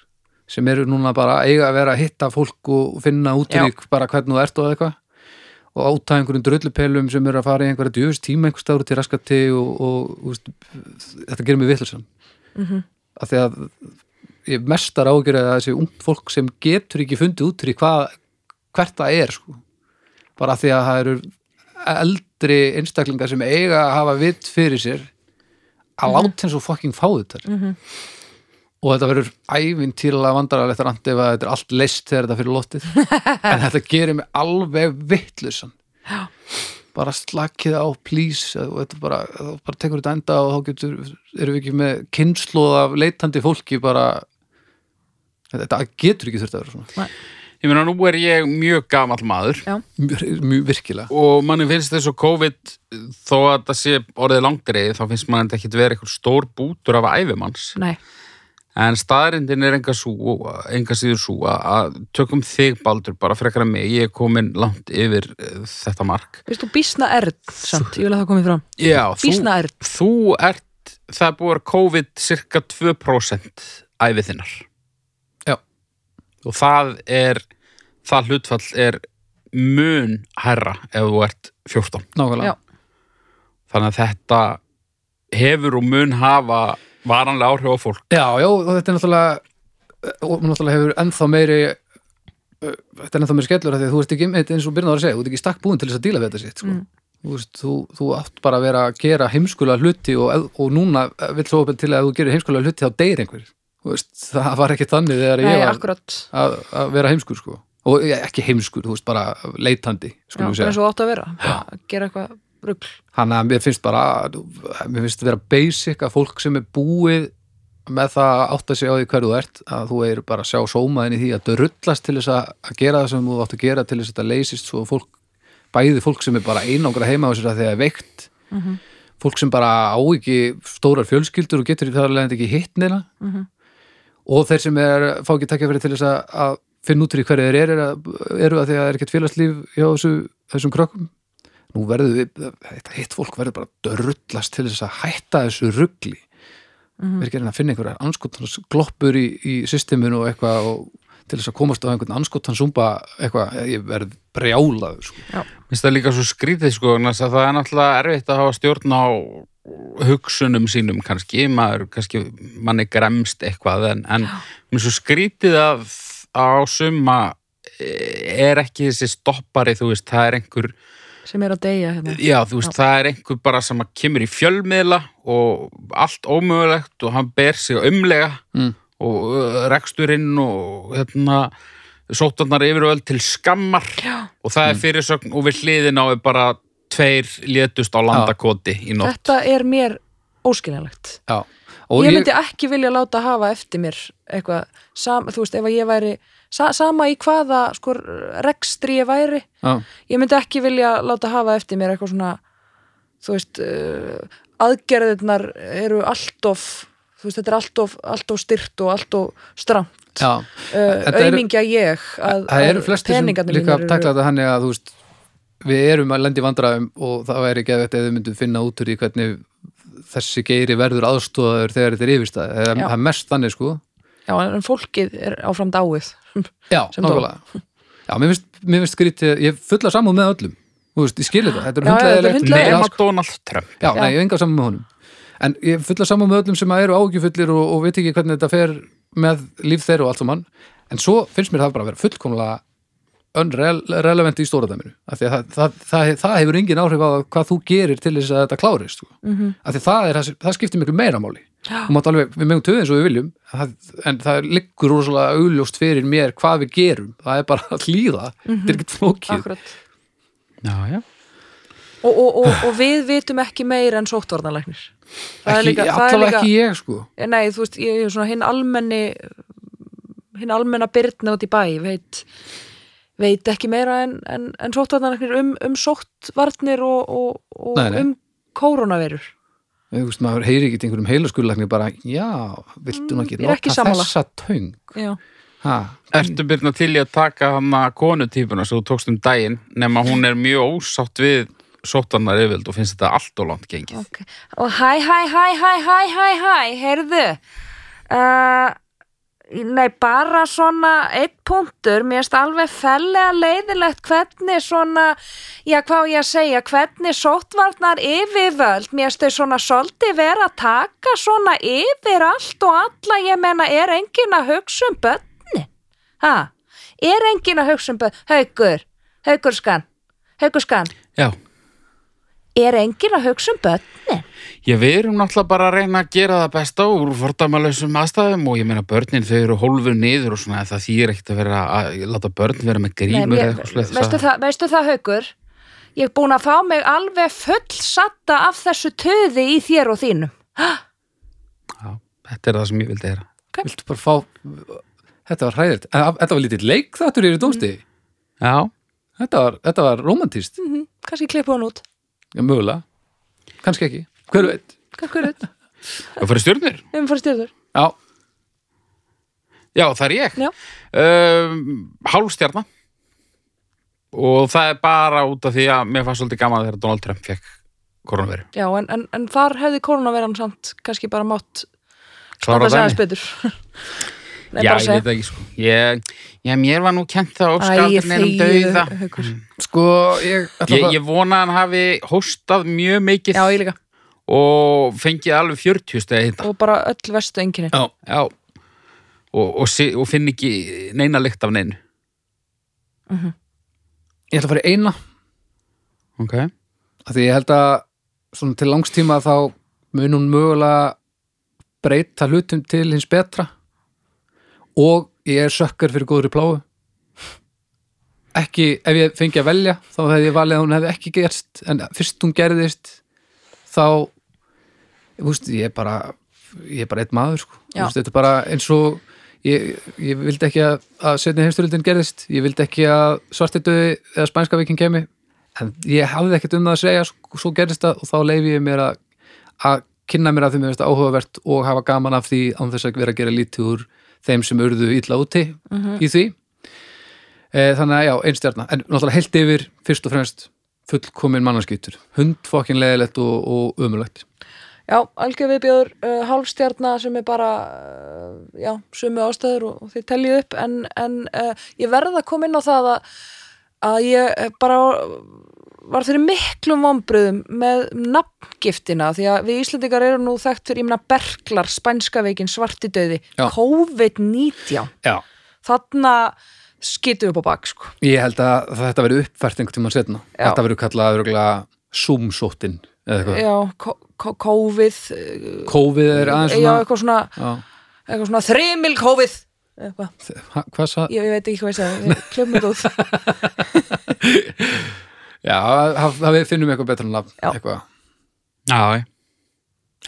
B: sem eru núna bara að eiga að vera að hitta fólk og finna út úr
C: Já.
B: því bara hvernig þú ert og eitthvað og áta einhverjum drullupelum sem eru að fara í einhverja djöfis tíma einhvers staður til raskati og, og þú veist, þetta gerir mig vitlusan mm -hmm. af því að ég mestar ágjur að þessi ungt fólk sem getur ekki fundið út úr því hvað, hvert það er sko. bara af því að það eru eldri einstaklingar sem eiga að hafa vitt fyrir sér að láta eins og fucking fá þetta og þetta verður ævintýrlega vandrarlegt rand ef að þetta er allt leist þegar þetta er fyrir lotið en þetta gerir mig alveg vittlusan bara slakið á please og þetta bara, þá bara tekur þetta enda og þá getur, erum við ekki með kynnslóð af leitandi fólki bara þetta getur ekki þurft að vera svona
A: Ég meina, nú er ég mjög gamall maður
B: mjög, mjög virkilega
A: og manni finnst þessu COVID þó að það sé orðið langdreið þá finnst mann þetta ekki vera eitthvað stór bútur af æfimanns
C: Nei,
A: en staðarindin er enga, sú, enga síður svo að tökum þig Baldur bara frekar að mig, ég er komin langt yfir eh, þetta mark
C: veist þú bísna erð samt, ég vil að það komið fram
A: Já,
C: Býsna erð.
A: þú ert það er búið að vera COVID cirka 2% æfið þinnar
B: Já.
A: og það er það hlutfall er mun herra ef þú ert 14
B: nákvæmlega
C: Já.
A: þannig að þetta hefur og mun hafa varanlega áhrif á fólk
B: Já, já, og þetta er náttúrulega eh, og náttúrulega hefur ennþá meiri uh, þetta er ennþá meiri skellur af því að þú ert ekki, einmitt eins og byrnaður að segja, þú ert ekki í stakk búin til þess að díla við þetta sitt sko.
C: Mm.
B: þú, veist, þú, þú átt bara að vera að gera heimskulega hluti og, ef- og núna eh, vill svo opið til að ef þú gerir heimskulega hluti þá deyr einhver Þú veist, það var ekki þannig þegar
C: Nei,
B: ég var
C: akkurat
B: að, að vera heimskur sko. og ég- ekki heimskur, þú veist, bara leitandi
C: Já,
B: skulum við
C: það
B: segja.
C: er svo átt að vera Bara Gera eitthvað rugl
B: Þannig að mér finnst bara, mér finnst vera basic að fólk sem er búið með það að átta sig á því hverju þú ert, að þú er bara að sjá sómaðin í því að drullast til þess að, að gera það sem þú átt að gera til þess að þetta leysist svo að fólk, bæði fólk sem er bara einangra heima á sér að því að það er veikt, fólk sem bara á ekki stórar fjölskyldur og getur í það alveg ekki hitt neina og þeir sem er, fá ekki takja fyrir til þess að, að finna út úr í hverju þeir eru, eru að því að það er ekkert félagslíf hjá þessu, þessum krökkum nú verður við, þetta hitt fólk verður bara að drullast til þess að hætta þessu ruggli mm
C: Mhm.
B: -hmm. verður ekki að reyna að finna einhverjar anskotans gloppur í, í systeminu og eitthvað og til þess að komast á einhvern anskotans umba eitthvað, eh, ég verð brjálaður sko.
A: minnst það líka svo skrítið sko vegna þess að það er náttúrulega erfitt að hafa stjórn á hugsunum sínum kannski, maður kannski manni gremst eitthvað en, en minnst svo skrítið að á summa eh, er ekki þessi stoppari þú veist, það er einhver
C: sem er að deyja hérna.
A: Já, þú veist, það er einhver bara sem að kemur í fjölmiðla og allt ómögulegt og hann ber sig umlega
B: Mm.
A: og uh, reksturinn og hérna sótarnar yfirvöld til skammar
C: Já.
A: og það er fyrirsögn og við hliðin á er bara tveir létust á landakoti í nótt.
C: Þetta er mér óskiljanlegt
B: Já. og
C: ég myndi ekki vilja láta hafa eftir mér eitthvað, sam, þú veist, ef að ég væri sa, sama í hvaða sko, rekstri ég væri
B: já,
C: ég myndi ekki vilja láta hafa eftir mér eitthvað svona þú veist, uh, aðgerðirnar eru allt of þú veist, þetta er allt of, allt of styrt og allt of stramt uh,
B: já. Þetta eru-
C: aumingja ég að,
B: það eru
C: að
B: flestir sem
C: peningarnir
B: líka
C: mínir eru-
B: takla þetta þannig að þú veist við erum að lendi vandræðum og það væri ekki að þau myndum finna út úr í hvernig þessi geiri verður aðstóðaður þegar þetta er yfirstæð það
C: Já.
B: það er mest þannig sko
C: Já, en fólkið er áfram dáið
B: Já,
C: sem dó.
B: nákvæmlega Já, mér finnst, mér finnst skrítið, ég er fulla samúð með öllum Þú veist, ég skil þetta, þetta er
C: Já, já, þetta er
B: hundleiðilegt
C: hundleiðilegt.
B: Já,
A: Nema
B: sko-
A: Donald Trump.
B: já,
C: Já.
B: nei, ég hef enga samúð með honum En ég er fulla samúð með öllum sem eru ágjufullir og, og veit ekki hvernig þetta fer með líf þeirra og allt saman En svo finnst mér það bara að vera fullkomlega unrelevant í stóra dæminu af því að það, það, það, það hefur engin áhrif á hvað þú gerir til þess að þetta klárist sko. mm
C: Mhm.
B: -hmm. af því að það, er, það, sem- það skiptir miklu meira máli og mátt alveg, við megum töðin svo við viljum það, en það liggur rosalega augljóst fyrir mér hvað við gerum það er bara að hlýða, þetta er ekkert flókið
C: Mhm. Akkurat
A: Já, já.
C: og, og, og, og við vitum ekki meira en sóttvarnalæknir Það er
B: ekki,
C: líka- það er
B: allavega
C: líka-
B: ekki ég sko
C: Nei, þú veist, ég er svona hinn almenni hinn almenna byrna út í bæ veit, veit ekki meira en, en, en sóttvarnarnir um, um sóttvarnir og, og, og
B: Nei, nei.
C: um kórónaveirur
B: Þú veist, maður heyri ekki einhverjum heilaskurlækni bara, já, viltu nú ekki
C: Mm, ég er ekki
B: nota
C: sammála.
B: þessa töng
C: Já,
B: ha,
A: Ertu byrna til í að taka hann að konutýpuna sem þú tókst um daginn nema hún er mjög ósátt við sóttanar yfirvöld og finnst þetta allt og langt gengið.
C: Ok. Og hæ, hæ, hæ, hæ, hæ, hæ, hæ, heyrðu. Uh, nei, bara svona eitt punktur, mér erst alveg fellega leiðilegt hvernig svona, já, hvað á ég að segja, hvernig sóttvarnar yfirvöld, mér erst þau svona svolítið vera að taka svona yfir allt og alla, ég menna, er engin að hugsa um börnin? Ha? Er engin að hugsa um börnin? Haukur, haukurskan, haukurskan,
A: Já.
C: er engin að hugsa um börnin?
A: Ég við erum náttúrulega bara að reyna að gera það besta úr fordamalösum aðstæðum og ég meina börnin þau eru hólfur niður og svona það þýr ekkert að vera að láta börn vera með
C: Nei,
A: grímur eða
C: mér,
A: eitthvað slett.
C: veistu, það, veistu það haukur ég er búin að fá mig alveg fullsatta af þessu töði í þér og þínum
A: Já, þetta er það sem ég vildi heyra.
B: viltu bara fá þetta var hræðilt, En af- þetta var lítið leik þáttur yfir dómsti,
C: Mm.
A: Já,
B: þetta var, þetta var romantíst,
C: Mhm. kannski klippa hún út
B: já, mögulega kannski ekki, hver veit
C: Hver veit?
A: það fyrir stjórnir.
C: um fyrir styrður
B: já,
A: Já, það er ég.
C: Já.
A: Um, Hálfstjarna. Og það er bara út af því að mér fannst svolítið gaman þegar Donald Trump fekk koronaviru.
C: já en, en, en þar hefði koronaveran samt kannski bara mátt
A: Klára
C: það
A: dæmi.
C: segja betur Nei,
A: Já,
C: bara
A: ég
C: segja.
A: veit það ekki sko. Ég, já, mér var nú kent það
C: Æ,
A: óskaldin er um dauða.
C: þegi, Haukur.
B: sko ég, ætla
A: Ég,
B: bara-
A: ég vona að hann hafi hóstað mjög mikið
C: já, ég líka
A: og fengið alveg 40 stegi hitta.
C: og bara öll vestu enginni
B: já,
A: Já. Og, og, si- og finn ekki neina lykt af neinu.
B: ég ætla að fara í eina
A: Ok.
B: að því ég held að svona til langstíma þá mun hún mögulega breyta hlutum til hins betra og ég er sökkar fyrir góðri pláu ekki, ef ég fengi að velja þá hefði ég valið að hún hefði ekki gerst en fyrst hún gerðist þá ég, veist, ég er bara ég er bara einn maður sko. Þú
C: Já.
B: veist, þetta er bara eins og ég, ég vildi ekki að, að setni heimsturöldin gerðist ég vildi ekki að svartidauði eða spænska vikin kemi en ég hafði ekkert um það að segja sko, svo gerðist það og þá leifi ég mér að, að kynna mér að því mér finnst áhugavert og hafa gaman af því án þess að vera að gera lítið úr þeim sem urðu illa úti
C: Mhm.
B: í því e, þannig að já, einstjarna en náttúrulega heilt yfir fyrst og fremst fullkomin mannarskýtur hund fokkin leðilegt og, og umulegt
C: já, algjör viðbjóður uh, hálfstjarnar sem er bara uh, já, sumi ástæður og, og þið teljið upp en, en uh, ég verð að koma inn á það að, að ég eh, bara var fyrir miklum vombriðum með nafngiftina því að við Íslandingar erum nú þekkt fyrir ég meina berklar, spænska veikin, svartidauði
B: Já.
C: COVID-19
B: já,
C: þarna skitum við upp á bak sko.
B: Ég held að þetta verið uppfært einhvern tímann setna.
C: Já.
B: Þetta verið kallað örgulega Zoom-sóttin eða eitthvað.
C: já, ko- ko- COVID eh,
B: COVID er aðeins
C: já,
B: svona...
C: eitthvað svona,
B: Já,
C: eitthvað svona þrimil COVID eitthvað
B: ha, hvað sað?
C: ég, ég veit ekki hvað ég sagði, klömmið út
B: Já, haf- það við finnum eitthvað betra nafn.
C: Já.
B: Eitthvað.
A: Já, já.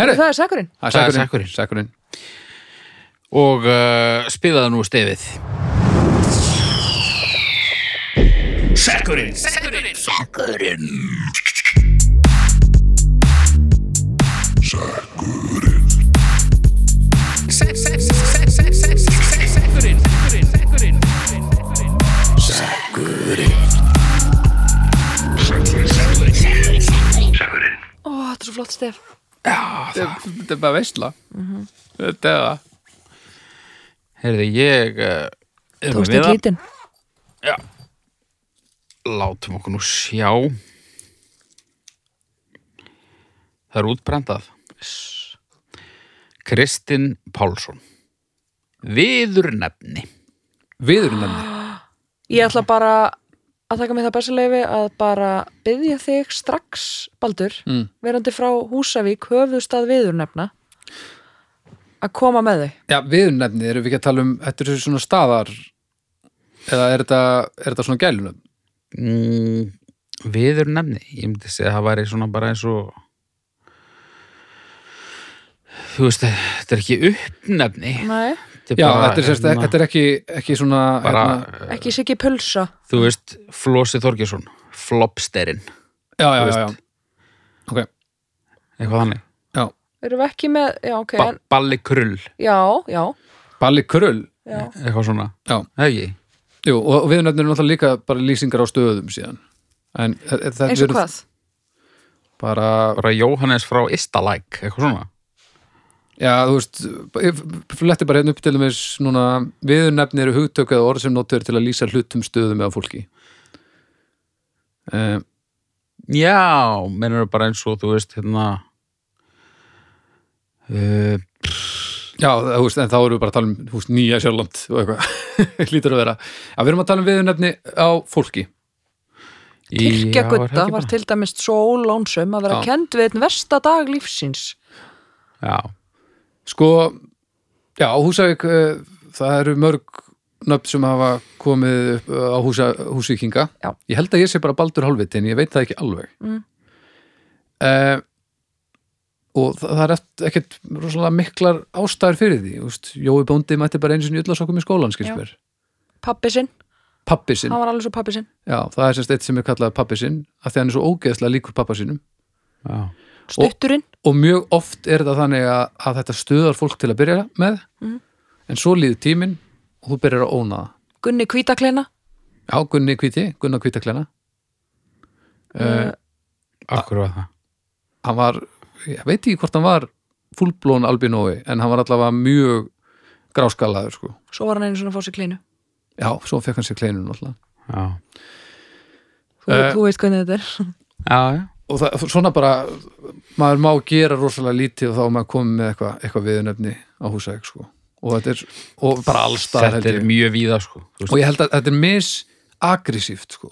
B: Herri,
C: það er sækurinn
B: það
A: það er
B: er sækurinn.
A: sekkurinn.
B: Sækurinn.
A: og uh, spilaði nú stefið.
C: Ó, þetta er svo flott stef
B: Þetta þetta er bara veistla.
A: Mhm.
B: Þetta er það.
A: Herði, ég uh,
C: Þú
A: erum
C: veist
A: við
C: ekki
A: að
C: lítinn
A: látum okkur nú sjá. Það er útbrendað. Kristinn Pálsson. Viður nefni.
B: Viðurinn nefni.
C: Ég ætla bara að taka mig það bestileifi að bara byggja þig strax, Baldur
B: Mm.
C: verandi frá Húsavík, höfðustað viður nefna að koma með þau
B: Já, viðurinn nefni, erum við ekki að tala um, þetta eru svona staðar eða er þetta, er þetta svona gælunum?
A: Mm, viður nefni. Ég myndi segja að það væri svona bara eins og... Þú veist, þetta er ekki uppnefni.
C: Nei.
A: Þetta
B: Já,
A: bara,
B: þetta er, sérst,
A: hérna,
B: þetta er ekki, ekki svona...
A: bara,
B: hérna,
C: Ekki sikki pulsa
A: þú veist, Flósi Þorgjesson, Flopsterinn,
B: já, já,
A: þú
B: já,
A: veist.
B: já. Ok,
A: eitthvað þannig.
B: já.
C: Erum við ekki með, já ok
A: Ba
C: en,
A: Balli Krull.
C: Já, já,
B: Balli Krull,
C: já,
A: eitthvað svona
B: Já.
A: Hegi.
B: Jú, og, og viðnefnir eru náttúrulega líka bara lýsingar á stöðum síðan en þe- þe- þetta
C: eins og
B: eru
C: hvað
B: bara,
A: bara Jóhannes frá Istalæk eitthvað svona
B: já þú veist ég fletti bara hérna upp til dæmis núna viðnefnir eru hugtök eða orð sem notur til að lýsa hlutum stöðum eða fólki um,
A: já, mennur bara eins og þú veist hérna uh,
B: já, þú veist, en þá erum við bara að tala um þú veist, nýja sjálfland og eitthvað lítur að vera, já við erum að tala um viðnefni á fólki,
C: Kirkja
A: já,
C: Gutta
A: er það ekki
C: var
A: bara?
C: til dæmis svo lónsum að vera
B: Já.
C: kend við einn versta dag lífsins
A: já,
B: sko já, á Húsavík eh, það eru mörg nöfn sem hafa komið upp eh, á húsa, húsvíkinga
C: Já.
B: ég held að ég sé bara Baldur Hálfviti en ég veit það ekki alveg
C: Mm.
B: Eh, og það, það er eft- ekkert rosalega miklar ástæður fyrir því úst, Jói Bóndi mætti bara einu sinni yllasokkum í skólan
C: Já.
B: skilst mér,
C: pappi sinn,
B: pappi sinn
C: hann var alveg svo pappi sinn
B: já, það er semst eitt sem er kallað pappi sinn af því hann er svo ógeðslega líkur pappa sínum
A: já,
C: stutturinn,
B: og mjög oft er þetta þannig að, að þetta stöðar fólk til að byrja með
C: Mhm.
B: en svo líður tíminn og þú byrjar að óna það
C: Gunni Hvítakleina
B: Já, Gunni Kvíti, Gunnar Kvítaklena uh,
C: uh,
A: akkur var það
B: Hann var, ég veit ekki hvort hann var fullblón albinói, en hann var allavega mjög gráskalaður sko.
C: svo var hann einu svona að fá sér kleinu
B: Já, svo fekk hann sér kleinun alltaf
A: já,
C: þú,
B: Eh.
C: þú veist hvernig þetta er
A: já, já,
B: Og það, svona bara, maður má gera rosalega lítið og þá er maður komið með eitthvað eitthva viðunefni á húsæk sko. og, þetta er, og bara allstaðar
A: þetta
B: held
A: er
B: ég
A: mjög víða sko þú
B: Og ég held að þetta er misagressíft sko.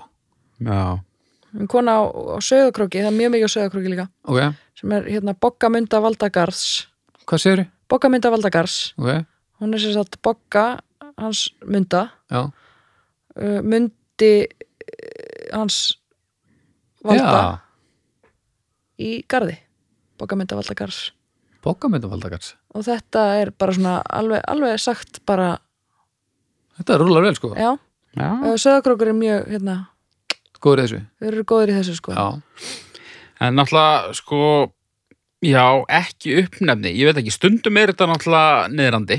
A: já,
C: En kona á, á söðakróki, það er mjög mikið á söðakróki líka
B: Ok,
C: sem er hérna Boggamunda Valdagarðs
B: hvað segir ég?
C: Boggamunda Valdagarðs
B: Ok,
C: hún er sér satt Bogga hans munda
B: já,
C: uh, mundi uh, hans valda
B: já
C: í garði Boggamunda Valdagarðs
B: Bókamöndavaldakars
C: og þetta er bara svona alveg, alveg sagt bara,
B: Þetta rúlar vel sko,
C: já,
A: já
C: söðakrókur er mjög hérna,
B: góður í þessu
C: þeir eru góðir í þessu sko
B: Já,
A: En náttúrulega, sko, já, ekki uppnefni. Ég veit ekki, stundum er þetta náttúrulega niðrandi.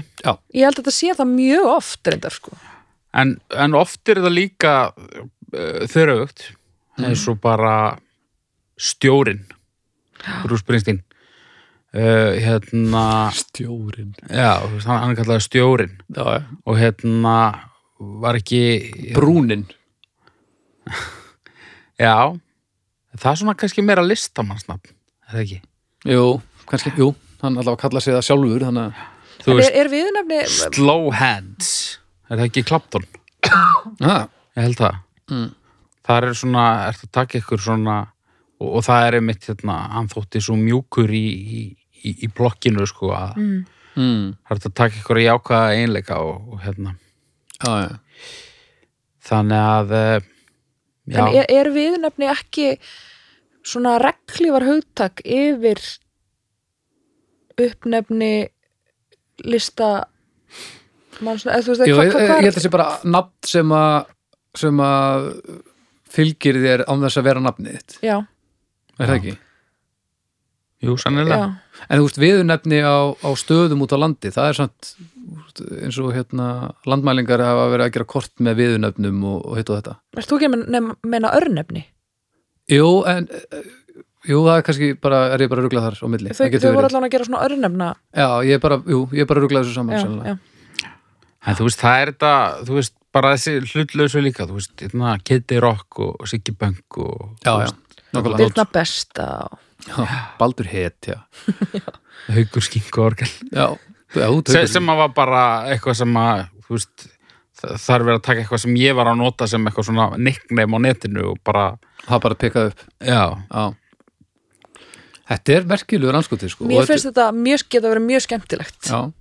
C: ég held að þetta sé það mjög oft reyndar sko
A: En, en oft er þetta líka uh, þörögt, eins og bara stjórinn, Bruce Springsteen. Uh, hérna,
B: Stjórin
A: já, þú veist, hann, hann kallaði stjórinn
B: já,
A: og hérna var ekki...
B: Brúnin
A: Já, það er svona kannski meira listamannsnafn, er það ekki?
B: Jú, kannski, jú, hann allavega kalla sig það sjálfur þannig að,
A: Þú
C: en er,
A: veist,
C: er viðnefni
A: slow hands, er það ekki klaptón?
B: ha,
A: Ég held það.
B: Mm.
A: Það er svona, ert að taka ykkur svona og, og það er einmitt hérna, hann þótti svo mjúkur í, í, í, í blokkinu sko að
C: mm,
B: mm,
A: það ert að taka ykkur í ákvaða einleika og, og hérna.
B: já, já
A: Þannig að, eh, já,
C: en er, er viðnefni ekki svona reglívar hugtak yfir uppnefni lista mann svona, eða þú veist
B: Jú,
C: hva-
B: ég,
C: hva-
B: ég
C: hvar-
B: held að sé bara nafn sem að sem að fylgir þér án þess að vera nafnið þitt
C: já,
B: er það ekki?
A: jú,
C: já,
A: sannilega.
B: En þú veist, viðurnefni á, á stöðum út á landi það er samt úst, eins og hérna, landmælingar hafa verið að gera kort með viðurnefnum og, og hitt og þetta
C: er þú ekki að men- meina örnefni
B: Jú, en eh, Jú, það er kannski bara, er ég bara að rugla þar á milli,
C: þau,
B: það
C: þau
B: getur
C: voru
B: verið
C: allan að gera svona örnefna
B: Já, ég er bara, jú, ég er bara að rugla þessu saman
C: já,
B: sennilega.
C: já.
A: En þú veist, það er þetta, þú veist, bara þessi hlutlausu líka, þú veist, hérna, Kitty Rock og Siggy Bank og þú
B: já, já,
A: veist,
B: nákvæmlega.
C: Birna besta og-
B: Já, Baldur hetja
A: haugur skink og orgel.
B: Já, þú- já, þú
A: sem,
B: tökur
A: sem að var bara eitthvað sem að þú veist, það það er verið að taka eitthvað sem ég var að nota sem eitthvað svona nickname á netinu og bara,
B: Það bara pekað upp
A: já,
B: já. Þetta er merkilegur anskotið sko.
C: mér finnst þetta mjög, geta verið mjög skemmtilegt
B: Já,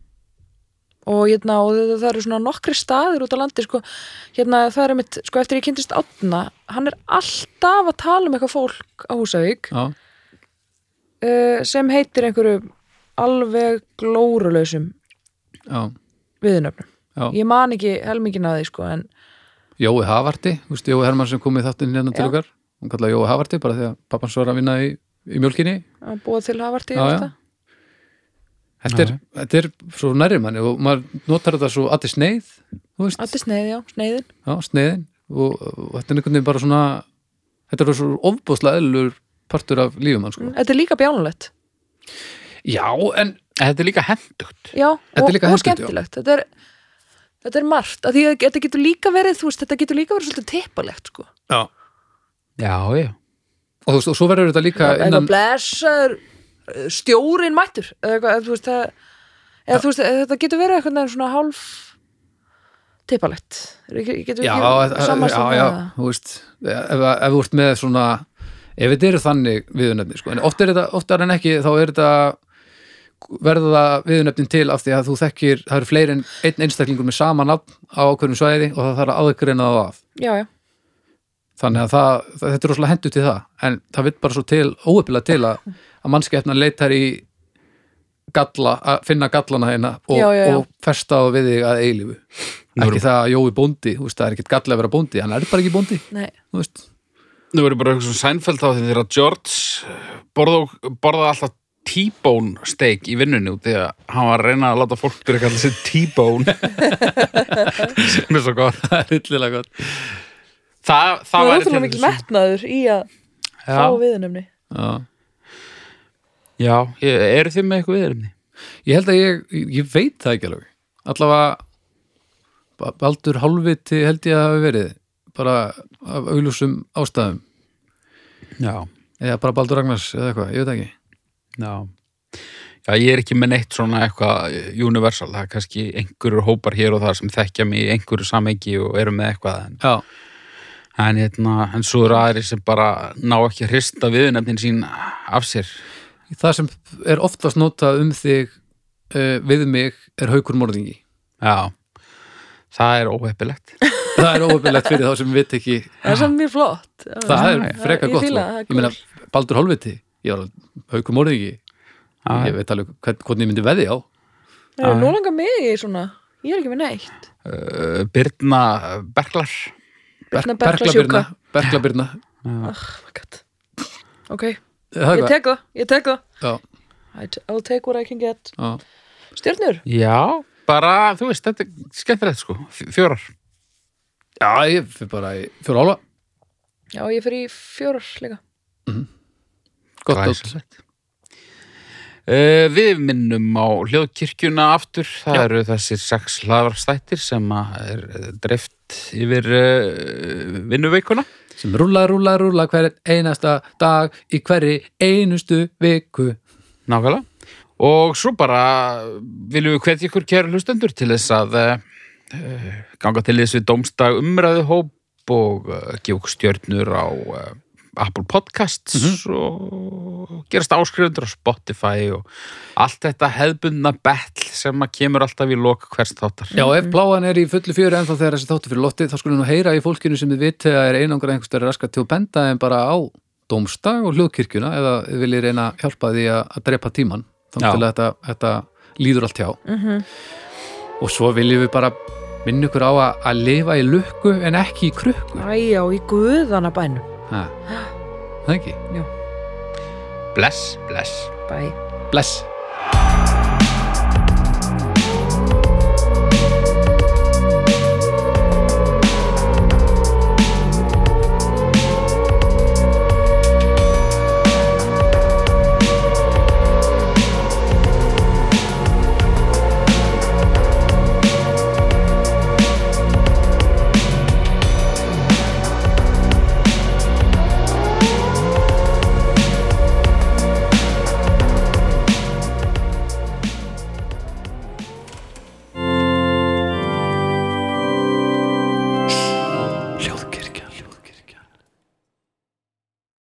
C: og, hérna, og það, það eru svona nokkri staðir út á landi sko, hérna, það er mitt, sko eftir ég kynntist átna, hann er alltaf að tala um eitthvað fólk á Húsavík
B: já,
C: uh, sem heitir einhverju alveg glórulausum
B: já,
C: viðnöfnum
B: já.
C: ég man ekki helmingin að því sko en
B: Jói Havarti, þú veist, Jói Hermann sem kom í þáttinn hérna til
C: Já.
B: okkar Hún kallaði Jói Havarti bara því að pappans var að vinna í, í mjólkinni
C: að búa til hafarti
B: Já, já. þetta er, þetta er svo nærri manni og maður notar þetta svo allir sneið þú veist,
C: Þetta er sneið, já, sneiðin
B: já, sneiðin og, og þetta er einhvern veginn bara svona þetta er svo ofbúðslega eðlur partur af lífum hann sko
C: Þetta er líka bjánulegt
B: já, en
A: Þetta er líka hendugt.
C: Já,
B: Þetta er
C: og,
B: líka
C: og
B: hentugt, já.
C: skemmtilegt þetta er, þetta er margt að því að þetta getur líka verið, þú veist, þetta getur líka verið svolítið teppalegt, sko
B: já.
A: Já, já.
B: og þú veist, og svo verður þetta líka
C: eitthvað
B: innan,
C: blessaður eh, stjórinn mættur eða eitthvað, eða þú veist, það, eða, þú veist eða, þetta getur verið eitthvað neginn svona hálf teppalegt getur
B: já,
C: ekki
B: já,
C: samast
B: já,
C: um
B: já,
C: það
B: þú veist ef, ef ef þú ert með svona ef þetta eru þannig viðunöfni sko. en oft er þetta, oftar en ekki, þá er þetta verða það viðunöfnin til af því að þú þekkir, það eru fleiri en einn einstaklingur með sama nafn á ákveðnum svæði og það þarf að aðgreina það af
C: já, já,
B: þannig að það, það, þetta er rosalega hendur til það en það vill bara svo til, óöpilega til að, að mannskeppna leitar í galla, að finna gallana hérna og,
C: Já, já, já.
B: og festa á við þig að eilífu
A: Nú
B: ekki
A: erum-
B: það að Jói bóndi, þú veist, það er ekkert galla að vera bóndi hann er bara ekki bóndi,
C: nei,
B: þú veist
A: Nú verður bara um eitthvað svona sænfælt á því þegar að George borða, borða alltaf T-bone steak í vinnunni út því að hann var að reyna að láta fólk byrja að kalla sér T-bone sem er svo gott
B: það er hildilega gott
A: Það, það
C: það er
A: væri
C: ótrúlega
A: til
C: mikil
A: þess-
C: metnaður í að fá
A: Já,
C: viðunumni
B: Já.
A: já ég- eru þið með eitthvað viðurumni?
B: ég held að ég, ég veit það ekki alveg allavega Ba- Baldur Hálfviti held ég að hafi verið bara af auglúsum ástæðum
A: Já,
B: eða bara Baldur Ragnars eða eitthvað, ég veit það ekki
A: já Já, ég er ekki með neitt svona eitthvað universal, það er kannski einhverjur hópar hér og þar sem þekkja mig í einhverju samengi og eru með eitthvað en,
B: Já,
A: en, hérna, en svo eru aðri sem bara ná ekki að hrista viðunefnin sín af sér
B: það sem er oftast notað um þig uh, við mig er haukur morðingi
A: Já, það er óheppilegt
B: það er óöfnilegt fyrir þá sem veit ekki
C: það er samt mjög flott
B: það er freka
C: ég
B: gott sko.
C: fíla það, það er
B: ég meina
C: cool.
B: Baldur Hólviti ég var alveg haukur morðingi ég
A: Já,
B: veit alveg hvern, hvernig ég myndi veði á
C: Nei, nú langar mig í svona ég er ekki með neitt
A: uh, Birna Berklar
C: Birna
B: Berklabirna
C: Berklasjúka.
B: Berklabirna
C: oh my god ok,
B: það
C: ég
B: er hvað
C: tek það, ég tek það
B: Já,
C: I t- I'll take what I can get
B: já.
C: stjörnur,
A: Já, bara, þú veist, þetta er skemmtilegt sko, F- fjórar
B: já, ég fyrir bara í fjóra ála
C: já ég fyrir í fjórar líka
B: gott dót.
A: Glæsilegt. Eh, við minnum á hljóðkirkjuna aftur, það eru þessir sex hlaðarstættir sem að er eh, dreift yfir uh, vinnuveikuna
B: sem rúla, rúla, rúla hver einasta dag í hverri einustu viku
A: nákvæmlega og svo bara viljum við hvetja ykkur kæru hlustendur til þess að uh, ganga til þess við domstag umræðuhóp og uh, gefa okkur stjörnur á uh, Apple Podcasts og gerast áskrifundur á Spotify og allt þetta hefðbundna betl sem að kemur alltaf í loka hvers þáttar
B: Já, ef bláan er í fullu fjöru ennþá þegar þessi þáttu fyrir lotti, þá skulum við nú heyra í fólkinu sem þið viti að er einangra einhverstari raska til að benda en bara á dómstag og hljóðkirkjuna eða þið viljið reyna að hjálpa því að, að drepa tíman
A: Já.
B: þannig til að þetta, þetta líður allt hjá. Og svo viljum við bara minna ykkur á að, að lifa í lukku en ekki í krukku.
C: æjá, í guðana bænum
B: Ha. Það ekki?
A: Bless, bless
C: bæ
B: Bless!